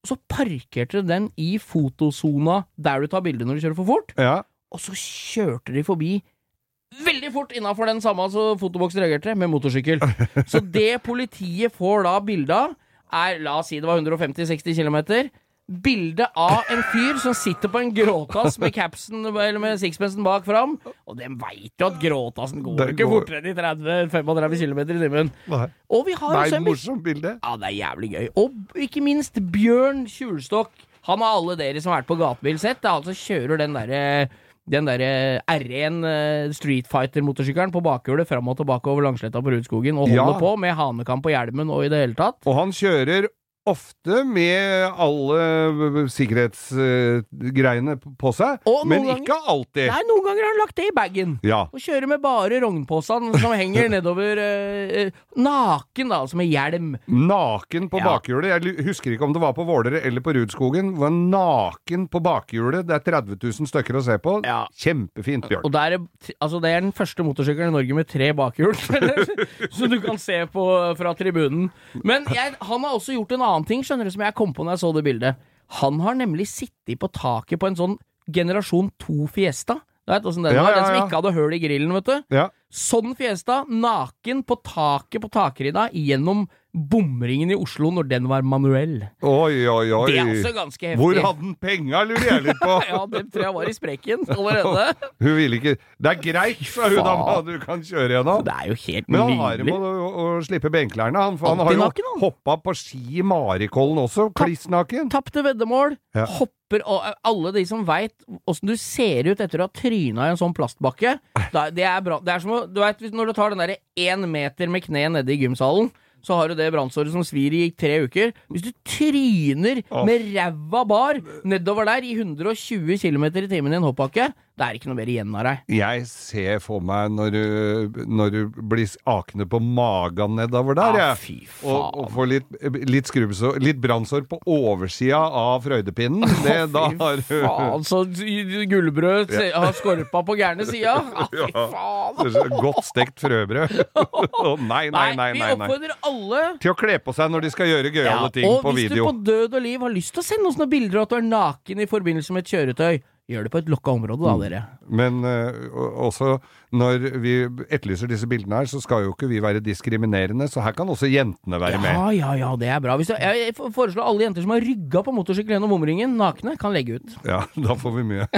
Og så parkerte de den i fotosona der du tar bilde når du kjører for fort.
Ja.
Og så kjørte de forbi veldig fort innafor den samme altså, fotoboksen reagerte med motorsykkel. Så det politiet får da bilde av, er la oss si det var 150-60 km. Bilde av en fyr som sitter på en gråtass med capsen Eller med sixpensen bak fram. Og de veit jo at gråtassen går
Den
ikke
går-
fortere enn i 30-35 km i timen.
Nei,
Og vi har også en bil-
morsomt bilde.
Ja, det er jævlig gøy. Og b- ikke minst Bjørn Kjulstokk. Han har alle dere som har vært på gatebil sett. Det er han som kjører den derre den derre R1 eh, Street Fighter-motorsykkelen på bakhjulet fram og tilbake over Langsletta på Rudskogen, og holder
Ja.
på med hanekam på hjelmen og i det hele tatt.
Og han kjører ofte med alle eh, sikkerhetsgreiene på seg,
Og noen
men
ganger-
ikke alltid.
Nei, noen ganger har han lagt det i bagen.
Ja.
Og kjører med bare rognposene som henger nedover eh, eh, Naken, da, altså med hjelm.
Naken på
Ja.
bakhjulet. Jeg lu- husker ikke om det var på Våler eller på Rudskogen. Var naken på bakhjulet. Det er 30 000 stykker å se på.
Ja.
Kjempefint, Bjørn.
Og der er, altså det er den første motorsykkelen i Norge med tre bakhjul, som du kan se på fra tribunen. Men jeg, han har også gjort en annen ting, skjønner du, som jeg kom på når jeg så det bildet. Han har nemlig sittet på taket på en sånn generasjon 2 Fiesta. Du vet åssen den
Ja,
var?
ja,
Den som
ja.
ikke hadde høl i grillen, vet du.
Ja.
Sånn Fiesta, naken på taket på takrydda gjennom bomringen i Oslo når den var manuell.
Oi, oi, oi.
Det er altså også ganske heftig.
Hvor hadde han penga, lurer jeg litt på.
ja, det tror jeg var i sprekken allerede.
Hun ville ikke Det er greit, sa hun da, hva
faen.
du kan kjøre gjennom.
Det er jo helt
Men han har
nydelig.
med å, å slippe benklærne, han. For han har
Antinaken,
jo
han.
hoppa på ski i Marikollen også, kliss naken.
Tapte veddemål,
Ja.
hopper og eh, alle de som veit åssen du ser ut etter å ha tryna i en sånn plastbakke. Da, det er bra. Det er som å, du vet, hvis- når du tar den derre én meter med kneet nede i gymsalen. Så har du det brannsåret som svir i tre uker. Hvis du tryner
Å.
med ræva bar nedover der i 120 km i timen i en hoppbakke, det er ikke noe mer igjen av deg.
Jeg ser for meg når du, når du blir akne på magen nedover der,
Ah,
jeg.
fy faen.
og, og får litt, litt skrubbsår Litt brannsår på oversida av frøydepinnen. Det, da har
Fy
du
faen, så gullbrød se- har skorpa på gærne sida. Ah, fy faen.
Godt stekt frøbrød. Å, nei, nei, nei, nei,
Vi
nei.
oppfordrer alle
Til å kle på seg når de skal gjøre
Ja,
gøyale ting
og
på
hvis
video.
du på død og liv har lyst til å sende oss noen bilder av at du er naken i forbindelse med et kjøretøy, gjør det på et lokka område,
Mm.
da, dere.
Men eh, og- også når vi etterlyser disse bildene her, så skal jo ikke vi være diskriminerende, så her kan også jentene være med.
Ja, ja, ja, det er bra. Hvis du, jeg jeg foreslår alle jenter som har rygga på motorsykkel gjennom bomringen, nakne, kan legge ut.
Ja, da får vi mye.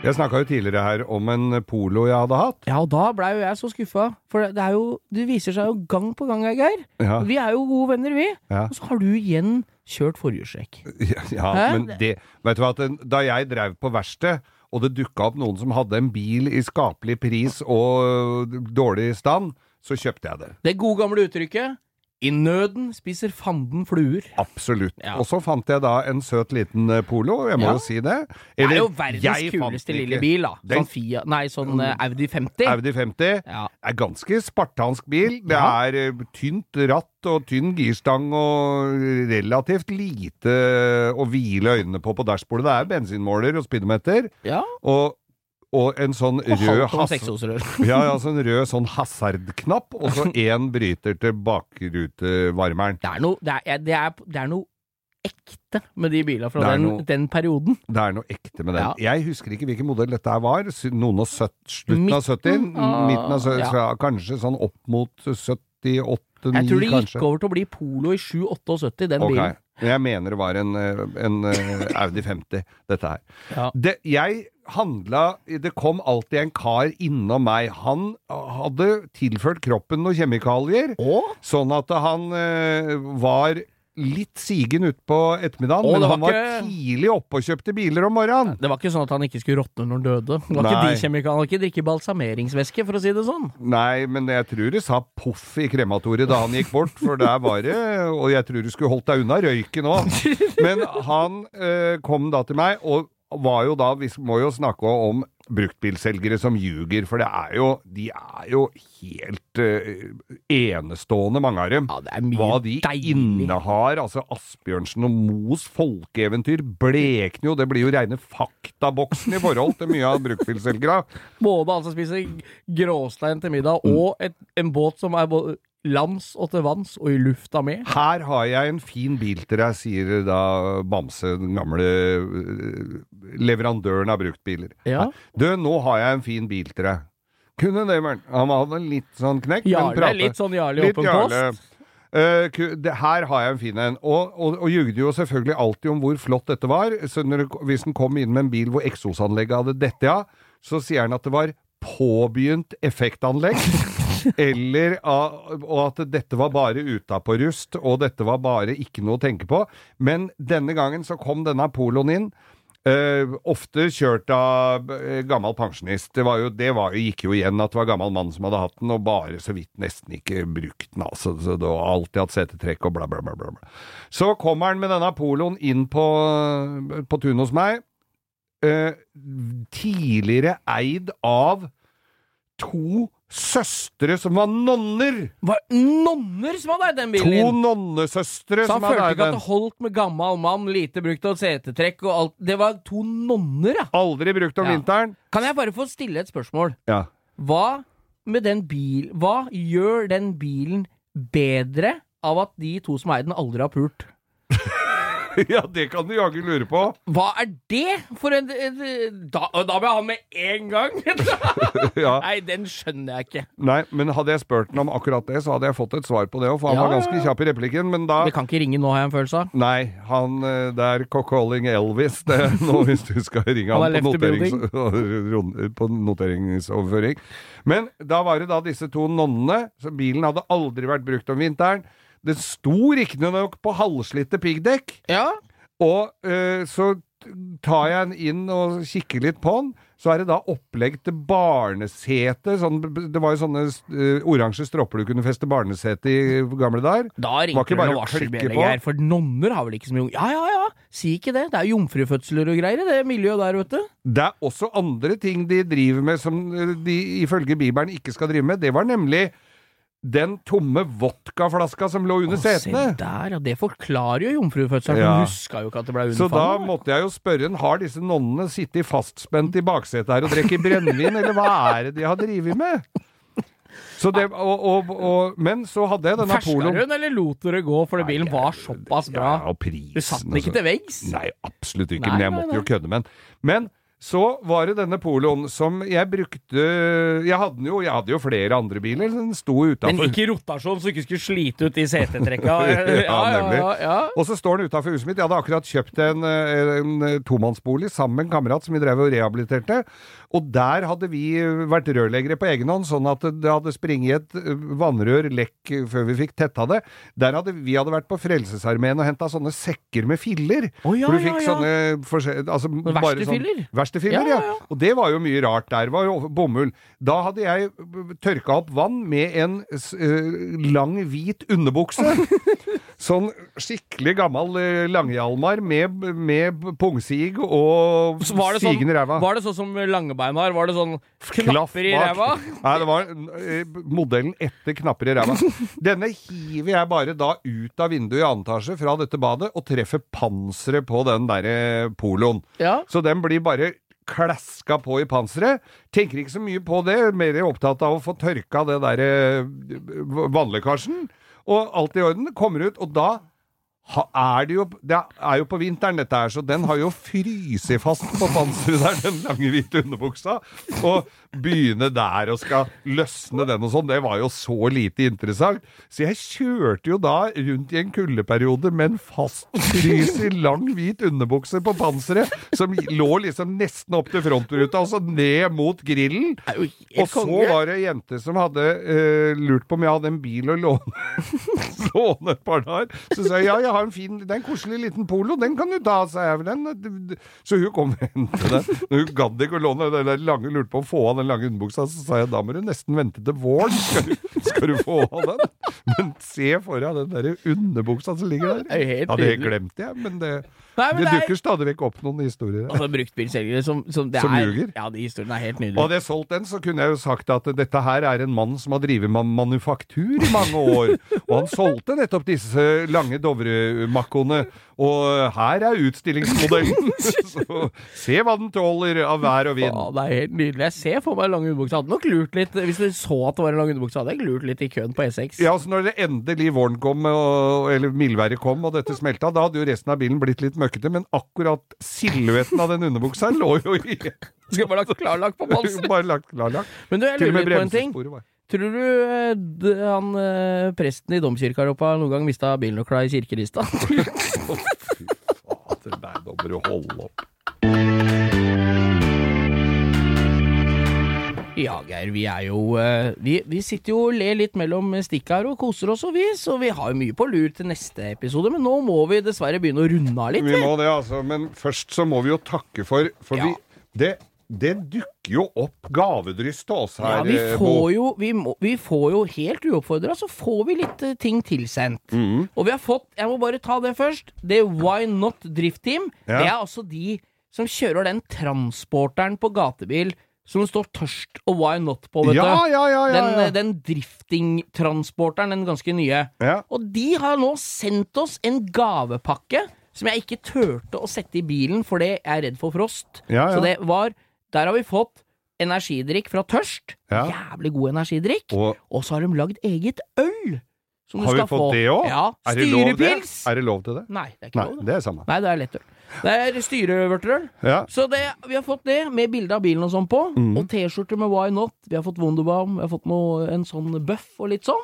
Jeg snakka jo tidligere her om en polo jeg hadde hatt.
Ja, og da blei jo jeg så skuffa, for det, det er jo Det viser seg jo gang på gang, Geir.
Ja,
Vi er jo gode venner, vi.
Ja.
Og så har du igjen kjørt forhjulstrekk.
ja
Hæ?
men det Vet du hva, at den- da jeg drev på verksted, og det dukka opp noen som hadde en bil i skapelig pris og dårlig stand, så kjøpte jeg det.
Det gode gamle uttrykket 'I nøden spiser fanden fluer'.
Absolutt.
Ja.
Og så fant jeg da en søt liten eh, polo, jeg må
Ja.
jo si det.
Det er
Eller,
jo verdens
jeg fant
kuleste
den
lille
ikke.
bil, da.
Den- Mm.
Sånn Fia, nei, sånn eh, Audi 50.
Audi 50.
Ja.
er ganske spartansk bil. Det
Ja.
er eh, tynt ratt og tynn girstang og relativt lite eh, å hvile øynene på på dashbordet. Det er bensinmåler og speedometer
ja.
og, og en sånn
Og
rød
halvt om
has-
seksosrør.
ja, ja, sånn rød sånn hasardknapp, og så én bryter til bakrutevarmeren.
Det er noe, det er, det er, det er noe ekte med de bilene fra
Det er
den,
noe-
den perioden.
Det er noe ekte med den. Jeg husker ikke hvilken modell dette her var. Sy- Noen og søtt, slutten av
Midten
70?
av-
Midten av 70,
ja.
ja. Kanskje sånn opp mot 78-9,
Jeg tror det gikk
Mm, kanskje?
over til å bli Polo i 778, den
Ok,
bilen.
Men jeg mener det var en, eh, en eh, Audi 50, dette her.
Ja.
Det, jeg handla Det kom alltid en kar innom meg. Han hadde tilført kroppen noen kjemikalier,
Og?
sånn at han eh, var litt sigen utpå ettermiddagen,
Å,
men
det var
han var
ikke-
tidlig oppe og kjøpte biler om morgenen.
Det var ikke sånn at han ikke skulle råtne når han døde. Det var ikke
Nei.
de kjemikaliene. Han hadde ikke drikke balsameringsvæske, for å si det sånn.
Nei, men jeg tror det sa poff i krematoriet da han gikk bort, for der var det Og jeg tror du skulle holdt deg unna røyken òg. Men han eh, kom da til meg, og var jo da Vi må jo snakke om bruktbilselgere som ljuger, for det er jo De er jo helt eh, enestående, mange av dem.
Ja, det er mye
Hva de
deilig.
innehar. Altså Asbjørnsen og Moes folkeeventyr blekner jo. Det blir jo reine faktaboksen i forhold til mye av bruktbilselgere.
Både han som spiser gråstein til middag,
Mm.
og et, en båt som er både lands og til vanns og i lufta med.
Her har jeg en fin bil til deg, sier da Bamse, den gamle øh, leverandøren av bruktbiler.
Ja.
Du, nå har jeg en fin bil til deg. Kunne det, Mørn. Han hadde litt sånn knekk, men
Jarle,
pratet.
litt sånn Jarle i åpen post.
Eh, ku- det, her har jeg en fin en. Og, og, og jugde jo selvfølgelig alltid om hvor flott dette var. Så når, det- hvis han kom inn med en bil hvor eksosanlegget hadde dette av, så sier han at det var påbegynt effektanlegg. Eller av- og at dette var bare utapårust, og dette var bare ikke noe å tenke på. Men denne gangen så kom denne poloen inn. eh, ofte kjørt av eh, gammel pensjonist. Det, var jo, det var, jo- gikk jo igjen at det var gammel mann som hadde hatt den, og bare så vidt nesten ikke brukt den. Altså, så det var alltid hatt setetrekk og bla, bla, bla, bla. bla. Så kommer han med denne poloen inn på, på tunet hos meg. Eh, tidligere eid av to søstre som var nonner!
Var nonner som hadde eid den bilen?
To
din?
nonnesøstre
Så han
som hadde
følte
eid
ikke at
den.
det holdt med gammal mann, lite brukt og setetrekk og alt. Det var to nonner, ja.
Aldri brukt om
Ja.
vinteren.
Kan jeg bare få stille et spørsmål?
Ja.
Hva med den bil Hva gjør den bilen bedre av at de to som eier den, aldri har pult?
ja, det kan du jaggu lure på.
Hva er det for en, en da, og da må jeg ha med én gang!
Ja.
Nei, den skjønner jeg ikke.
Nei, men hadde jeg spurt ham om akkurat det, så hadde jeg fått et svar på det òg, for han
Ja,
var
ja,
ganske kjapp i replikken, men da
Vi kan ikke ringe nå, har jeg en følelse av.
Nei, han eh, Det er calling Elvis det, er nå, hvis du skal ringe
Han
han,
er
på,
left i
noterings, rund- på noteringsoverføring. Men da var det da disse to nonnene. Så bilen hadde aldri vært brukt om vinteren. Det sto riktignok på halvslitte piggdekk,
Ja.
og eh, så tar jeg den inn og kikker litt på den. Så er det da opplegg til barnesete. Sånn, det var jo sånne eh, oransje stropper du kunne feste barnesete i eh, gamle dager.
Da
Var ikke
ringer det
bare
noen
å klikke
varselbjeller,
på.
Geir, for nonner har vel ikke så mye ung... Ja, ja, ja, si ikke det. Det er jomfrufødsler og greier i det miljøet der, vet du.
Det er også andre ting de driver med som eh, de ifølge Bibelen ikke skal drive med. Det var nemlig den tomme vodkaflaska som lå under
Å, Se
setene.
der, ja. Det forklarer jo jomfrufødselen.
Ja.
Hun huska jo ikke at det ble
Så da
unnfallet.
måtte jeg jo spørre en, har disse nonnene sittet fastspent i baksetet her og drukket brennevin, eller hva er det de har drevet med? Så det, og, og, og, men så hadde jeg denne
Ferska
poloen.
hun, eller lot dere gå fordi bilen var såpass bra?
Ja, og prisen,
Du satt den ikke
altså.
til veggs?
Nei, absolutt ikke,
Nei,
men jeg
nei,
måtte
nei.
jo kødde med den. Men så var det denne poloen som jeg brukte Jeg hadde den jo, jeg hadde jo flere andre biler, så den sto
Men
utafor.
ikke i rotasjon, så du ikke skulle slite ut de setetrekka.
Ja, nemlig.
ja.
Og så står den utafor huset mitt. Jeg hadde akkurat kjøpt en, eh, en eh, tomannsbolig sammen med en kamerat som vi drev og rehabiliterte. Og der hadde vi eh, vært rørleggere på egen hånd, sånn at det hadde springet et eh, vannrør lekk eh, før vi fikk tetta det. Der hadde vi hadde vært på Frelsesarmeen og henta sånne sekker med filler.
Å, ja,
for du
ja,
fikk
ja.
sånne forskjell- altså, bare
verkstedfiller?
Sånn, verkstedfiller,
Ja,
ja,
ja, ja.
Og det var jo mye rart der. Var jo bomull. Da hadde jeg eh, tørka opp vann med en s- eh, lang, hvit underbukse. Sånn skikkelig gammel eh, langjalmar med, med pungsig og
Så var det sånn,
sigen i ræva.
var det sånn som Langebein har? Var det sånn
Klaff
knapper i
bak.
ræva?
Nei, det var eh, modellen etter knapper i ræva. Denne hiver jeg bare da ut av vinduet i annen etasje fra dette badet og treffer panseret på den derre poloen.
Ja.
Så den blir bare klaska på i panseret. Tenker ikke så mye på det, mer opptatt av å få tørka det der eh, vannlekkasjen. Og alt i orden. Kommer ut, og da ha, er det jo Det er jo på vinteren, dette her, så den har jo fryst fast på panseret der, den lange hvite underbuksa. Og begynne der og skal løsne den og sånn, det var jo så lite interessant. Så jeg kjørte jo da rundt i en kuldeperiode med en fastfryst i lang hvit underbukse på panseret, som lå liksom nesten opp til frontruta, og så ned mot grillen.
Er jo helt
Og så
konge.
var det ei jente som hadde eh, lurt på om jeg hadde en bil å låne, låne et par dager. Så sa jeg ja, jeg har en fin, det er en koselig liten polo, den kan du ta, sa jeg. «Den- den- Så hun kom og hentet den. Men Hun gadd ikke å låne den der lange, lurte på å få av den lange underbuksa, så sa jeg da må du nesten vente til våren, skal du, skal du få av den. Men se for deg den derre underbuksa som ligger
Det er jo
der.
helt
Ja, det
nydelig.
glemte jeg, men det,
Nei, men
det
det er-
dukker stadig vekk opp noen historier. her.
Altså bruktbilselgere som, som det
Som
er
ljuger?
Ja, de historiene er helt
Og
nydelige.
hadde jeg solgt den, så kunne jeg jo sagt at dette her er en mann som har drevet med manufaktur i mange år. Og han solgte nettopp disse lange Dovremakkoene. Og her er utstillingsmodellen. Så se hva den tåler av vær og vind.
Ja, det er helt nydelig. Jeg ser for meg lang underbukse. Hadde nok lurt litt Hvis du så at det var en lang underbukse, hadde jeg lurt litt i køen på E E6.
Ja, så når det endelig våren kom, og, eller mildværet kom, og dette smelta, da hadde jo resten av bilen blitt litt møkkete, men akkurat silhuetten av den underbuksa lå jo i
Skal bare lagt klarlagt på panser.
Bare lagt klarlagt.
Men du, Altså.
Til
jeg
og med
lurer litt på en ting.
bremsesporet var
Tror du eh, d- han eh, presten i domkirka her oppe har noen gang mista bilnøkla i kirkerista?
Å, Fy fader, nei, nå må du holde opp.
Ja, Geir, vi er jo eh, vi, vi sitter jo og ler litt mellom stikka her og koser oss og vi, så vi har jo mye på lur til neste episode, men nå må vi dessverre begynne å runde av litt.
Vi må det, altså. Men først så må vi jo takke for For
Ja.
vi, det, det dukker jo opp gavedryst til oss
Ja,
her.
vi
eh,
får
Bo.
jo, vi må, vi får jo helt uoppfordra, så får vi litt eh, ting tilsendt.
Mhm.
Og vi har fått, jeg må bare ta det først, det Why Not Drift Team.
Ja.
Det er altså de som kjører den transporteren på gatebil som står tørst og why not på, vet
Ja,
du.
ja, ja, ja,
Den,
ja.
eh, den drifting-transporteren, den ganske nye.
Ja.
Og de har nå sendt oss en gavepakke som jeg ikke turte å sette i bilen fordi jeg er redd for frost.
Ja, ja.
Så det var Der har vi fått energidrikk fra Tørst.
Ja.
Jævlig god energidrikk.
Og
Og så har de lagd eget øl! Som du
Har vi
skal
fått
få.
det òg?
Ja.
Er det lov til det?
Styrepils!
Er det lov til det?
Nei, det er ikke
Nei,
lov. det.
det er samme.
Nei, det er lettøl. Det er styrevørterøl.
Ja. Mm.
Så det, vi har fått det, med bilde av bilen og sånn på. Og T-skjorte med Why Not. Vi har fått Wunderbaum, vi har fått noe, en sånn bøff og litt sånn.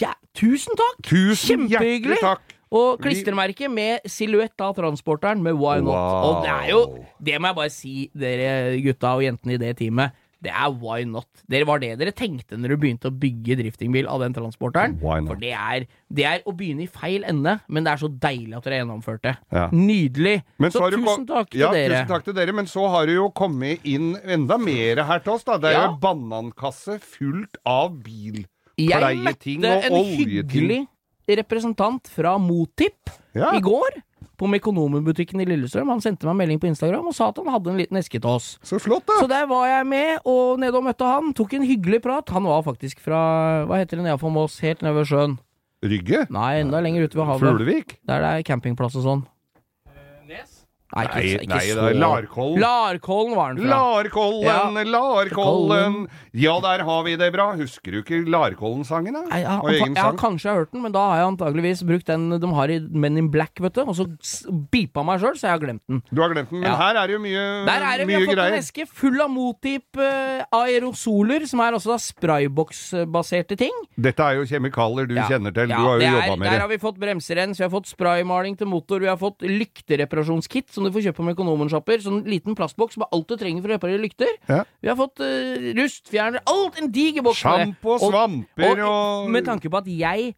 Ja, tusen takk!
Tusen hjertelig
Kjempehyggelig!
takk!
Og klistremerke med silhuett av transporteren med Why Not.
Wow.
Og det er jo Det må jeg bare si, dere gutta og jentene i det teamet. Det er why not. Dere var det dere tenkte når du begynte å bygge driftingbil av den transporteren.
Why not?
For det er, det er å begynne i feil ende, men det er så deilig at dere har gjennomført det.
Ja.
Nydelig.
Men
så
har du
tusen
kom-
takk til
ja,
dere.
Tusen takk til dere, men så har det jo kommet inn enda mer her til oss, da. Det er
Ja.
jo en banankasse fullt av
Jeg
bilpleieting og
møtte en
oljeting.
hyggelig representant fra Motip
Ja.
i går. På Mekonomen-butikken i Lillestrøm. Han sendte meg en melding på Instagram og sa at han hadde en liten eske til oss.
Så flott, da!
Så der var jeg med, og nede og møtte han. Tok en hyggelig prat. Han var faktisk fra Hva heter det nede for Moss? Helt nede ved sjøen.
Rygge?
Nei, enda lenger ute ved havet.
Fuglevik?
Der det er campingplass og sånn. Nei, ikke,
Nei,
ikke
nei, det
så
er Larkollen.
Larkollen var han fra.
Larkollen,
Ja.
Larkollen Ja, der har vi det bra. Husker du ikke Larkollen-sangen, da?
Nei, jeg,
Og
har-
egen
jeg har
sang?
kanskje hørt den, men da har jeg antageligvis brukt den de har i Men in Black, vet du. Og så s- beepa meg sjøl, så jeg har glemt den.
Du har glemt den, men
Ja.
her er det jo mye,
Der er det, Vi har
Mm, mye
fått en
greier.
eske full av Motip eh, aerosoler, som er altså da sprayboks-baserte ting.
Dette er jo kjemikalier du
Ja.
kjenner til.
Ja,
Du har
det
jo
er-
jobba med
Der
det.
har vi fått bremserens, vi har fått spraymaling til motor, vi har fått lyktereparasjonskit som du får kjøpe på Mekonomen-shopper. Sånn liten plastboks med alt du trenger for å reparere lykter.
Ja.
Vi har fått eh, rustfjerner, alt! En diger boks med det.
Sjampo, svamper og,
Med tanke på at jeg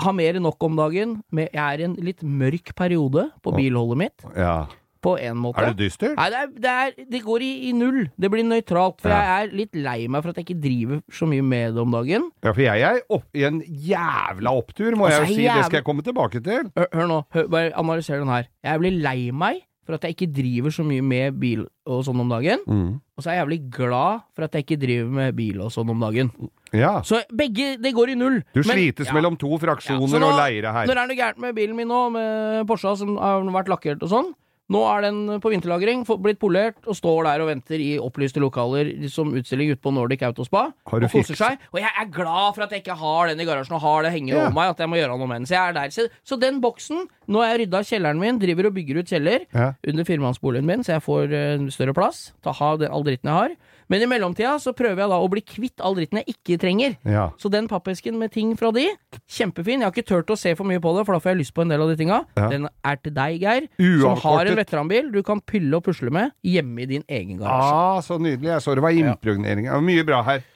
har mer enn nok om dagen, men jeg er i en litt mørk periode på bilholdet mitt,
ja.
på en måte.
Er det dystert?
Nei, det, er, det, er, det går i, i null. Det blir nøytralt. For
Ja.
jeg er litt lei meg for at jeg ikke driver så mye med det om dagen.
Ja, for jeg er opp, i en jævla opptur, må
Altså,
jeg jo si. Det
jævla-
skal jeg komme tilbake til.
Hør, hør nå, hør, bare analyser den her. Jeg blir lei meg for at jeg ikke driver så mye med bil og sånn om dagen.
Mm.
Og så er jeg jævlig glad for at jeg ikke driver med bil og sånn om dagen.
Ja.
Så begge, det går i null.
Du
Men-
slites
ja.
mellom to
Ja,
fraksjoner
så nå-
og leire her.
Når det er noe gærent med bilen min nå, med Porscha som har vært lakkert og sånn, nå er den på vinterlagring, få- blitt polert, og står der og venter i opplyste lokaler som utstilling ute på Nordic Autospa.
Har du
og koser
fikset-
seg. Og jeg er glad for at jeg ikke har den i garasjen og har det hengende
Ja.
over meg, at jeg må gjøre noe med den. Så jeg er der. Så, så den boksen, nå har jeg rydda kjelleren min, driver og bygger ut kjeller
Ja.
under firmansboligen min, så jeg får eh, større plass. Ta ha det, all dritten jeg har. Men i mellomtida så prøver jeg da å bli kvitt all dritten jeg ikke trenger.
Ja.
Så den pappesken med ting fra de, kjempefin. Jeg har ikke turt å se for mye på det, for da får jeg lyst på en del av de tinga.
Ja.
Den er til deg, Geir, som
Uavkortet.
har en veteranbil du kan pylle og pusle med hjemme i din egen garasje.
Ah, så nydelig. Jeg så det var impregnering. Det var mye bra her.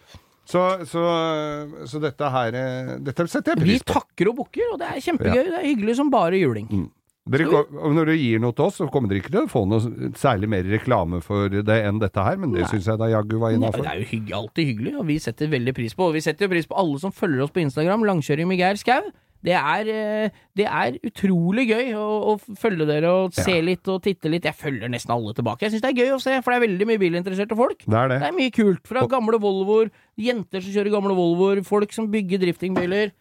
Så, så, så dette her eh, Dette setter jeg
Vi
pris på. Mm,
takker og bukker, og det er kjempegøy. Det er hyggelig som bare juling.
Dere, går- og når dere gir noe til oss, så kommer dere ikke til å få noe særlig mer reklame for det enn dette her, men det syns jeg da jaggu var
Ja,
innafor.
det er jo hygg, alltid hyggelig, og vi setter veldig pris på Og vi setter jo pris på alle som følger oss på Instagram, Langkjøring med Geir Skau. Det er, eh, det er utrolig gøy å, å følge dere og se litt og titte litt. Jeg følger nesten alle tilbake. Jeg syns det er gøy å se, for det er veldig mye bilinteresserte folk.
Det er
Det
det.
er mye kult. Fra gamle Volvoer, jenter som kjører gamle Volvoer, folk som bygger driftingbiler.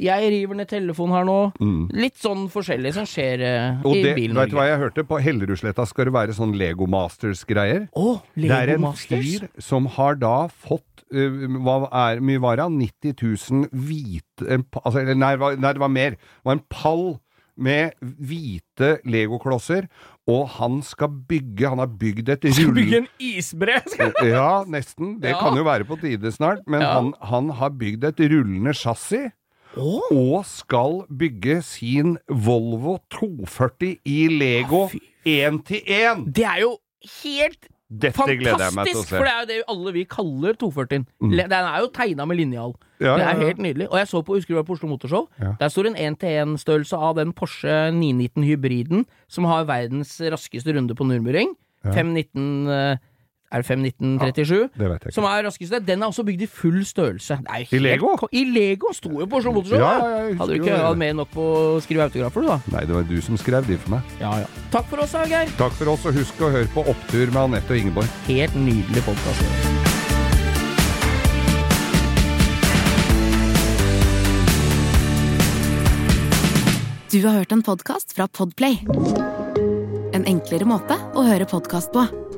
Jeg river ned telefonen her nå. Litt sånn forskjellig som skjer eh,
Mm. Og
i
det,
bilen.
vet du hva jeg hørte? På Hellerudsletta skal det være sånn Lego Masters-greier.
Å,
Det er
Lego
en
Masters.
fyr som har da fått eh, Hva er mye var det? 90 000 hvite en pa- altså, eller nei, det var- nei, det var mer. Det var en pall med hvite legoklosser, og han skal bygge Han har bygd et
Skal
rull... Eh,
bygge en isbre! skal jeg-
Ja, nesten. Det
Ja.
kan jo være på tide snart. Men
Ja.
han, han har bygd et rullende chassis.
Å,
Og skal bygge sin Volvo 240 i Lego
Ja, fy.
én til én!
det er jo helt
Dette gleder jeg meg til å
fantastisk!
se. Mm.
For det er jo det alle vi kaller 240-en. Den er jo tegna med linjal.
Ja,
det
ja,
er
ja.
helt nydelig. Og jeg så på Husker du det var på Oslo Motorshow?
Ja.
Der står en 1-til-1-størrelse av den Porsche 919 hybriden som har verdens raskeste runde på Nürnberring. 519 eh, Er det 51937?
det vet jeg ikke.
Som er raskeste. Den er også bygd i full størrelse. Det er
I
jo helt
Lego?
ko- I Lego! Sto jo på Oslo Motorshow!
Ja,
da.
ja, jeg husker
Hadde du
jo
ikke
det.
hatt mer enn nok på å skrive autografer, du, da?
Nei, det var du som skrev de for meg.
Ja, ja. Takk for oss, da, Geir.
Takk for oss, og husk å høre på Opptur med Anette og Ingeborg.
Helt nydelig podkast.
Du har hørt en podcast fra Podplay En enklere måte å høre podcast på